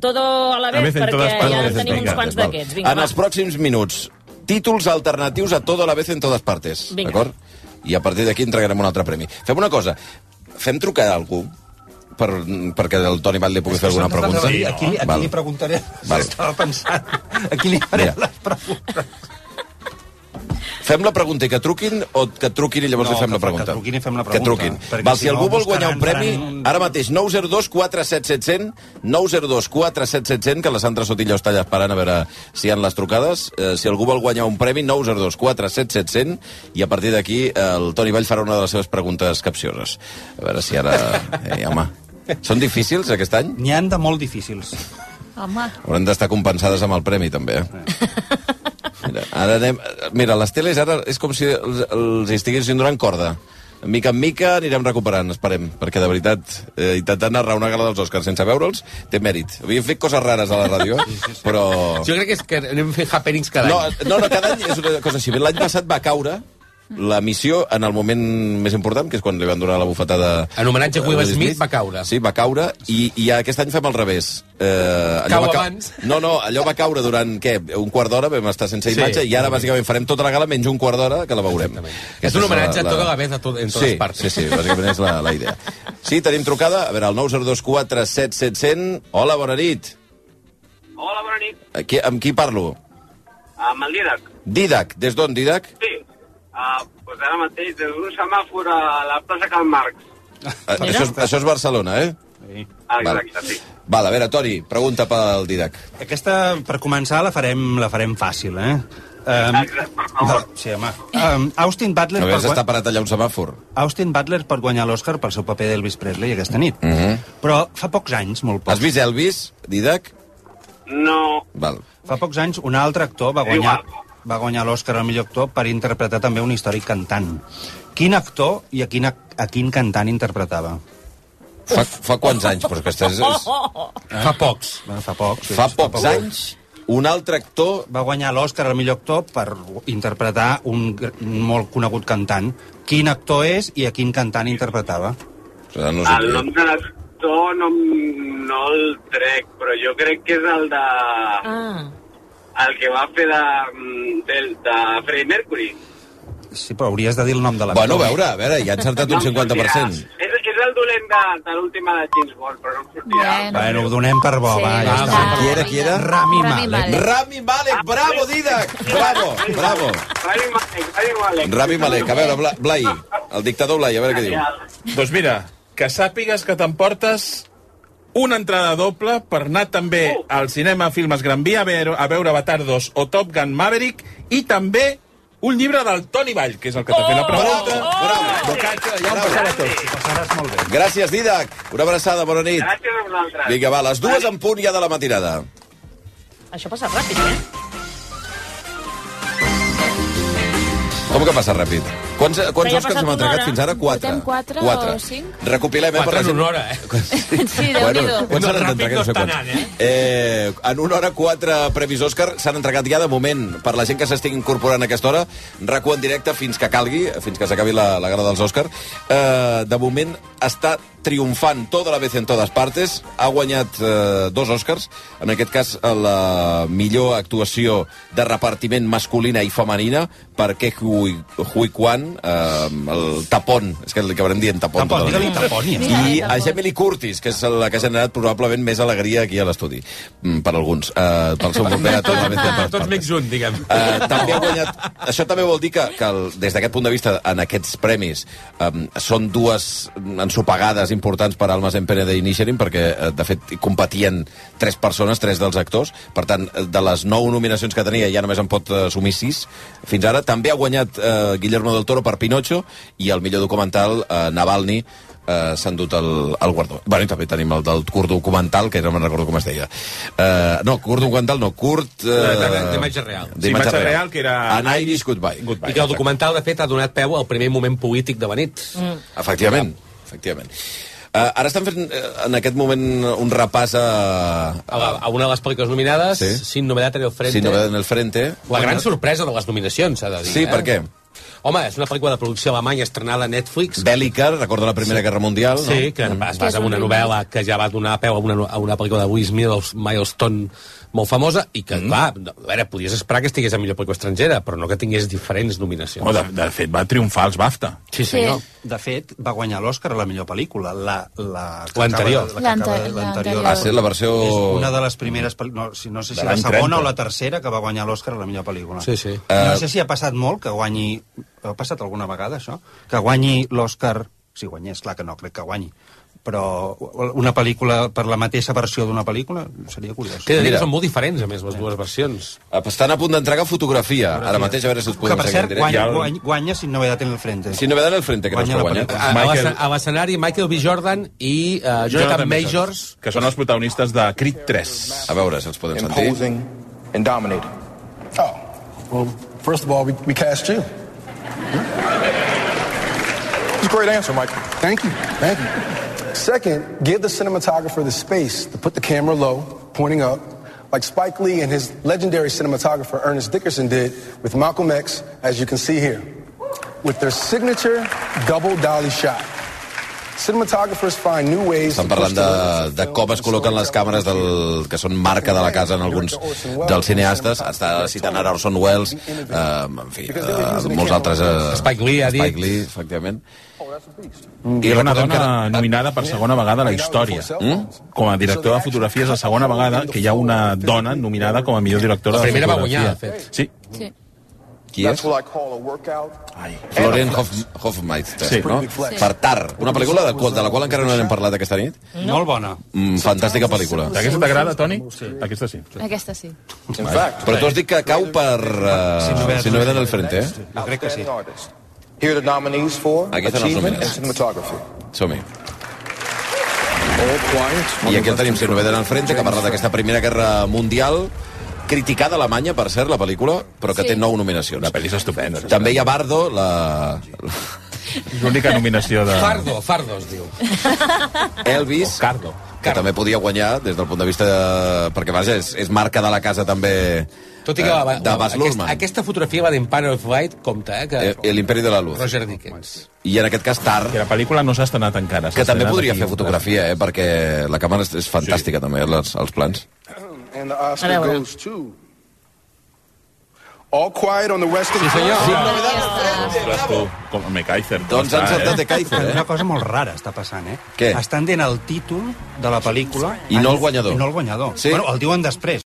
[SPEAKER 7] todo a la
[SPEAKER 1] A
[SPEAKER 7] vez,
[SPEAKER 1] vez en todas
[SPEAKER 7] perquè ja
[SPEAKER 1] partes.
[SPEAKER 7] tenim uns
[SPEAKER 1] Vinga.
[SPEAKER 7] quants
[SPEAKER 1] Val.
[SPEAKER 7] d'aquests. Vinga,
[SPEAKER 1] En
[SPEAKER 7] va.
[SPEAKER 1] els pròxims minuts, títols alternatius a Todo a la vez en todas partes.
[SPEAKER 7] Vinga.
[SPEAKER 1] D'acord? I a partir d'aquí entregarem un altre premi. Fem una cosa, fem trucar a algú per, perquè el Toni Val li pugui fer alguna pregunta.
[SPEAKER 2] Aquí, aquí, li- aquí
[SPEAKER 1] Val.
[SPEAKER 2] li preguntaré.
[SPEAKER 1] Val.
[SPEAKER 2] Estava pensant. Aquí li faré
[SPEAKER 1] Mira.
[SPEAKER 2] les preguntes.
[SPEAKER 1] Fem la pregunta i que truquin o que truquin i llavors
[SPEAKER 2] No,
[SPEAKER 1] li fem
[SPEAKER 2] que
[SPEAKER 1] la
[SPEAKER 2] fa-
[SPEAKER 1] pregunta?
[SPEAKER 2] que truquin i fem la
[SPEAKER 1] Que
[SPEAKER 2] pregunta,
[SPEAKER 1] truquin.
[SPEAKER 2] perquè
[SPEAKER 1] Val,
[SPEAKER 2] si
[SPEAKER 1] si,
[SPEAKER 2] no,
[SPEAKER 1] algú vol guanyar un
[SPEAKER 2] buscaran-
[SPEAKER 1] premi,
[SPEAKER 2] faran un-
[SPEAKER 1] ara mateix 902 477 700 902 477 que la Sandra Sotillo està allà esperant a veure si hi ha les trucades. Eh, si algú vol guanyar un premi, 902 477 700 i a partir d'aquí eh, el Toni Vall farà una de les seves preguntes capcioses. A veure si ara... Eh, home... Són difícils aquest any?
[SPEAKER 2] N'hi han de molt difícils.
[SPEAKER 4] Home,
[SPEAKER 1] Hauran d'estar compensades amb el premi, també. Eh? Mira, ara anem... Mira, les teles ara és com si els, els estiguessin donant corda. De Mica en mica anirem recuperant, esperem, perquè de veritat eh, intentar narrar una gala dels Oscars sense veure'ls té mèrit. Havíem fet coses rares a la ràdio, però...
[SPEAKER 3] Jo crec que, és que anem fent happenings cada
[SPEAKER 1] No,
[SPEAKER 3] any.
[SPEAKER 1] no, no, cada any és una cosa així. L'any passat va caure la missió en el moment més important, que és quan li van donar la bufetada...
[SPEAKER 3] En homenatge a Will
[SPEAKER 1] Will
[SPEAKER 3] Smith, va caure.
[SPEAKER 1] Sí, va caure, i, i aquest any fem al revés. Eh,
[SPEAKER 3] Cau
[SPEAKER 1] va
[SPEAKER 3] abans.
[SPEAKER 1] No, no, allò va caure durant, què, un quart d'hora, vam estar sense
[SPEAKER 3] Sí,
[SPEAKER 1] imatge, i ara, bàsicament, farem tota la gala menys un quart d'hora, que la veurem. Aquesta
[SPEAKER 3] És un homenatge a
[SPEAKER 1] la- la-
[SPEAKER 3] tota la vez a tot, en totes
[SPEAKER 1] sí,
[SPEAKER 3] parts.
[SPEAKER 1] Sí, sí, bàsicament és la, la idea. Sí, tenim trucada, a veure, el 9024 7700. Hola, bona nit.
[SPEAKER 19] Hola, bona nit. Ah,
[SPEAKER 1] Aquí, amb qui parlo?
[SPEAKER 19] Amb el Didac.
[SPEAKER 1] Didac, des d'on, Didac?
[SPEAKER 19] Sí. Uh, doncs ara mateix, des d'un semàfor a la plaça Can Marx.
[SPEAKER 1] Ah, Això és, això és Barcelona, eh?
[SPEAKER 19] Exacte, sí.
[SPEAKER 1] Val, a veure, Toni, pregunta pel Didac.
[SPEAKER 2] Aquesta, per començar, la farem, la farem fàcil, eh? Um, no, sí, home. Um, Austin Butler...
[SPEAKER 1] Havies
[SPEAKER 2] guan-
[SPEAKER 1] estar parat allà a un semàfor.
[SPEAKER 2] Austin Butler per guanyar l'Oscar pel seu paper d'Elvis Presley aquesta nit.
[SPEAKER 1] Mm -hmm.
[SPEAKER 2] Però fa pocs anys, molt pocs...
[SPEAKER 1] Has vist Elvis, Didac?
[SPEAKER 19] No.
[SPEAKER 1] Val.
[SPEAKER 2] Fa pocs anys un altre actor va guanyar va guanyar l'Oscar al millor actor per interpretar també un històric cantant. Quin actor i a quin, ac- a quin cantant interpretava?
[SPEAKER 1] Fa, fa quants anys? Però és que estàs, és,
[SPEAKER 2] Fa pocs. Fa pocs.
[SPEAKER 1] Fa pocs anys, un altre actor...
[SPEAKER 2] Va guanyar l'Oscar al millor actor per interpretar un gr- molt conegut cantant. Quin actor és i a quin cantant interpretava?
[SPEAKER 1] Ah, No
[SPEAKER 19] El nom de l'actor no, em- no el trec, però jo crec que és el de...
[SPEAKER 7] Ah.
[SPEAKER 19] El que va fer de, de, de Freddie Mercury.
[SPEAKER 2] Sí, però hauries de dir el nom de l'actor.
[SPEAKER 1] Bueno, a veure, a veure, ja han encertat un 50%.
[SPEAKER 19] És, és el dolent de, de l'última de James Bond, però no em sortirà.
[SPEAKER 2] Bueno, ho donem per bo, va, ja
[SPEAKER 1] va,
[SPEAKER 2] està.
[SPEAKER 1] va, Qui era, qui era?
[SPEAKER 2] Rami Malek.
[SPEAKER 1] Rami Malek, bravo, Didac! Bravo, bravo.
[SPEAKER 19] Ah, Rami Malek, Rami Malek.
[SPEAKER 1] Rami Malek, a veure, Bla- Blai, el dictador Blai, a veure què diu.
[SPEAKER 5] Doncs mira, que sàpigues que t'emportes una entrada doble per anar també al cinema Filmes Gran Via a veure, a veure Avatar 2 o Top Gun Maverick i també un llibre del Toni Vall, que és el que t'ha fet
[SPEAKER 2] Oh!
[SPEAKER 5] la pregunta.
[SPEAKER 1] Bravo, bravo, bravo. Gràcies, Didac. Una abraçada, bona nit.
[SPEAKER 19] Gràcies a vosaltres.
[SPEAKER 1] Vinga, va, les dues en punt ja de la matinada.
[SPEAKER 7] Això passa ràpid, eh?
[SPEAKER 1] Com que passa ràpid? Quants, quants
[SPEAKER 4] ja ha
[SPEAKER 1] Oscars
[SPEAKER 4] passat
[SPEAKER 1] hem
[SPEAKER 4] una
[SPEAKER 1] entregat
[SPEAKER 4] hora.
[SPEAKER 1] fins ara? Quatre.
[SPEAKER 4] Portem quatre o cinc?
[SPEAKER 1] Recopilem, eh?
[SPEAKER 3] Quatre en
[SPEAKER 1] la gent.
[SPEAKER 3] una hora, eh?
[SPEAKER 4] Sí, déu nhi
[SPEAKER 1] quants s'han entregat? No sé quants. eh? en una hora, quatre premis Òscar s'han entregat ja de moment. Per la gent que s'estigui incorporant a aquesta hora, recu en directe fins que calgui, fins que s'acabi la, la gala dels Òscar. Eh, de moment està triomfant tota la vez en totes partes. Ha guanyat eh, dos Òscars, en aquest cas la millor actuació de repartiment masculina i femenina per Ke Hui, Hui Kwan, eh, el tapon, és que li acabarem dient tapon.
[SPEAKER 2] Tapón,
[SPEAKER 1] tota la
[SPEAKER 2] digue-li
[SPEAKER 1] nit.
[SPEAKER 2] tapón, ja està.
[SPEAKER 1] I a Jamie Lee Curtis, que és la que ha generat probablement més alegria aquí a l'estudi, Mm, per alguns, eh, pel seu paper a tota la vez de
[SPEAKER 3] Tots mics un, diguem.
[SPEAKER 1] Eh, també ha guanyat... Això també vol dir que, que el, des d'aquest punt de vista, en aquests premis, um, són dues ensopegades importants per Almas en Pene de Initiating, perquè, eh, de fet, hi competien tres persones, tres dels actors. Per tant, eh, de les nou nominacions que tenia, ja només en pot eh, assumir sis fins ara. També ha guanyat eh, Guillermo del Toro per Pinocho i el millor documental, eh, Navalny, eh, s'han dut el, el guardó. Bueno, i també tenim el del curt documental, que no me'n recordo com es deia. Eh, no, curt documental, no, curt... Eh,
[SPEAKER 3] De- de- d'imatge real.
[SPEAKER 1] D'imatge
[SPEAKER 5] Sí, imatge
[SPEAKER 1] real.
[SPEAKER 5] real, que era-
[SPEAKER 1] An Irish Goodbye.
[SPEAKER 3] I que el documental, de fet, ha donat peu al primer moment polític de la nit.
[SPEAKER 7] Mm.
[SPEAKER 1] Efectivament, efectivament. Uh, ara estan fent, eh, en aquest moment, un repàs a...
[SPEAKER 3] A, la, a una de les pel·lícules nominades,
[SPEAKER 1] Sí.
[SPEAKER 3] Sin novedad en el frente.
[SPEAKER 1] Sin novedad en el frente.
[SPEAKER 3] La gran sorpresa de les nominacions, s'ha de dir.
[SPEAKER 1] Sí,
[SPEAKER 3] eh?
[SPEAKER 1] per què?
[SPEAKER 3] Home, és una pel·lícula de producció alemanya estrenada a Netflix.
[SPEAKER 1] Bèl·lica, recorda la Primera Guerra Mundial, no?
[SPEAKER 3] Sí, que es basa en una novel·la que ja va donar peu a una, a una pel·lícula de Will Smith, Milestone, molt famosa, i que, mm. clar, no, a veure, podies esperar que estigués a millor pel·lícula estrangera, però no que tingués diferents nominacions.
[SPEAKER 5] Oh, de, de fet, va triomfar els BAFTA.
[SPEAKER 3] Sí, senyor.
[SPEAKER 2] De fet, va guanyar l'Oscar a la millor pel·lícula, la... la que
[SPEAKER 3] L'anterior.
[SPEAKER 2] acaba- la que acaba-
[SPEAKER 3] L'ante-
[SPEAKER 2] L'anterior.
[SPEAKER 1] Ah, sí, la versió...
[SPEAKER 2] És una de les primeres... pel·lí- No, si- no sé si
[SPEAKER 1] De
[SPEAKER 2] la
[SPEAKER 1] l'any
[SPEAKER 2] segona
[SPEAKER 1] 30.
[SPEAKER 2] o la tercera que va guanyar l'Oscar a la millor pel·lícula.
[SPEAKER 3] Sí, sí.
[SPEAKER 2] I
[SPEAKER 1] Eh,
[SPEAKER 2] No sé si ha passat molt que guanyi... Ha passat alguna vegada, això? Que guanyi l'Oscar... Si guanyés, clar que no, crec que guanyi. Però una pel·lícula per la mateixa versió d'una pel·lícula seria curiós.
[SPEAKER 3] Que, de dir que són molt diferents, a més, les dues versions.
[SPEAKER 1] Eh, Estan a punt d'entregar fotografia, ara mateix, a veure si us
[SPEAKER 2] Que,
[SPEAKER 1] podem
[SPEAKER 2] per
[SPEAKER 1] seguir en
[SPEAKER 2] cert,
[SPEAKER 1] directe.
[SPEAKER 2] guanya,
[SPEAKER 1] Hi ha-
[SPEAKER 2] guanya, guanya sin novedad en el frente.
[SPEAKER 1] Sin novedad en el frente, que no és
[SPEAKER 2] Guanya la
[SPEAKER 1] que guanya.
[SPEAKER 3] A, a l'escena- a l'escenari, Michael B. Jordan i uh, Jonathan Majors...
[SPEAKER 5] Que són els protagonistes de Creed 3.
[SPEAKER 1] A veure si els podem
[SPEAKER 5] sentir.
[SPEAKER 20] and dominating.
[SPEAKER 13] Well, first of all, we, we cast you.
[SPEAKER 20] It's a great answer, Michael.
[SPEAKER 13] Thank you. Thank you. Second, give the cinematographer the space to put the camera low, pointing up, like Spike Lee and his legendary cinematographer Ernest Dickerson did with Malcolm X, as you can see here, with their signature double dolly shot. Cinematographers find new ways
[SPEAKER 1] Estan
[SPEAKER 13] to
[SPEAKER 1] parlant
[SPEAKER 13] push the limits
[SPEAKER 1] de, de com es col·loquen les càmeres del, que són marca de la casa en alguns dels cineastes. Està citant ara Orson Welles, eh, en fi, eh, molts altres... Eh,
[SPEAKER 3] Spike Lee ha dit.
[SPEAKER 1] Spike Lee, efectivament.
[SPEAKER 5] I Mm. era una
[SPEAKER 1] recordem
[SPEAKER 5] dona nominada per segona vegada a la història. Mm? Com a director de fotografia és la segona vegada que hi ha una dona nominada com a millor directora
[SPEAKER 3] La primera
[SPEAKER 5] de
[SPEAKER 3] va
[SPEAKER 5] fotografia.
[SPEAKER 3] guanyar, de fet.
[SPEAKER 5] Sí,
[SPEAKER 4] Sí.
[SPEAKER 1] Qui és?
[SPEAKER 9] That's what I call a workout.
[SPEAKER 1] Florian Hoff Hoffmeister,
[SPEAKER 9] Sí.
[SPEAKER 1] no?
[SPEAKER 9] Sí.
[SPEAKER 1] Per Tar, una pel·lícula de, qual- de la qual encara no n'hem parlat aquesta nit.
[SPEAKER 2] No. Molt bona.
[SPEAKER 1] Mm, fantàstica pel·lícula.
[SPEAKER 5] Aquesta t'agrada, Toni? Sí. Aquesta sí.
[SPEAKER 4] Aquesta sí.
[SPEAKER 1] Vale. Però tu has dit que cau per... Uh, eh, si no ve del frente, eh?
[SPEAKER 2] Jo crec que sí.
[SPEAKER 9] Here are the nominees for
[SPEAKER 1] Aquí estan els
[SPEAKER 9] achievement and
[SPEAKER 1] nominats.
[SPEAKER 9] cinematography.
[SPEAKER 1] Som-hi. I aquí el tenim, si no ve del frente, que parla d'aquesta Primera Guerra Mundial, criticada a Alemanya, per cert, la pel·lícula, però que
[SPEAKER 4] Sí.
[SPEAKER 1] té nou nominacions. La pel·li és estupenda. També hi ha Bardo, la...
[SPEAKER 5] L'única nominació de...
[SPEAKER 3] Fardo, Fardo es diu.
[SPEAKER 1] Elvis, Cardo. que també podia guanyar des del punt de vista... De... Perquè, vaja, és, és marca de la casa també
[SPEAKER 3] Tot i que
[SPEAKER 1] eh,
[SPEAKER 3] va, va,
[SPEAKER 1] de Bas
[SPEAKER 3] aquesta,
[SPEAKER 1] Luhrmann.
[SPEAKER 3] aquesta fotografia va d'Empire of Light, compte, eh? Que...
[SPEAKER 1] Eh, L'imperi de la luz.
[SPEAKER 3] Roger Dickens.
[SPEAKER 1] I en aquest cas, Tar...
[SPEAKER 5] Que la pel·lícula no s'ha estrenat encara. s'ha
[SPEAKER 1] Que també
[SPEAKER 5] estrenat
[SPEAKER 1] podria
[SPEAKER 5] aquí.
[SPEAKER 1] fer fotografia, eh? Perquè la càmera és, és fantàstica, sí. també, eh, les, els plans.
[SPEAKER 9] And the Oscar
[SPEAKER 13] Ahora, ahora.
[SPEAKER 9] goes to All Quiet on the Western
[SPEAKER 5] Ostres, tu, com me Kaiser.
[SPEAKER 1] Doncs han encertat de Kaiser, eh?
[SPEAKER 2] Una cosa molt rara està passant, eh?
[SPEAKER 1] Què?
[SPEAKER 2] Estan dient el títol de la pel·lícula...
[SPEAKER 1] I no el guanyador.
[SPEAKER 2] I no el guanyador.
[SPEAKER 1] Sí?
[SPEAKER 2] Bueno, el diuen després.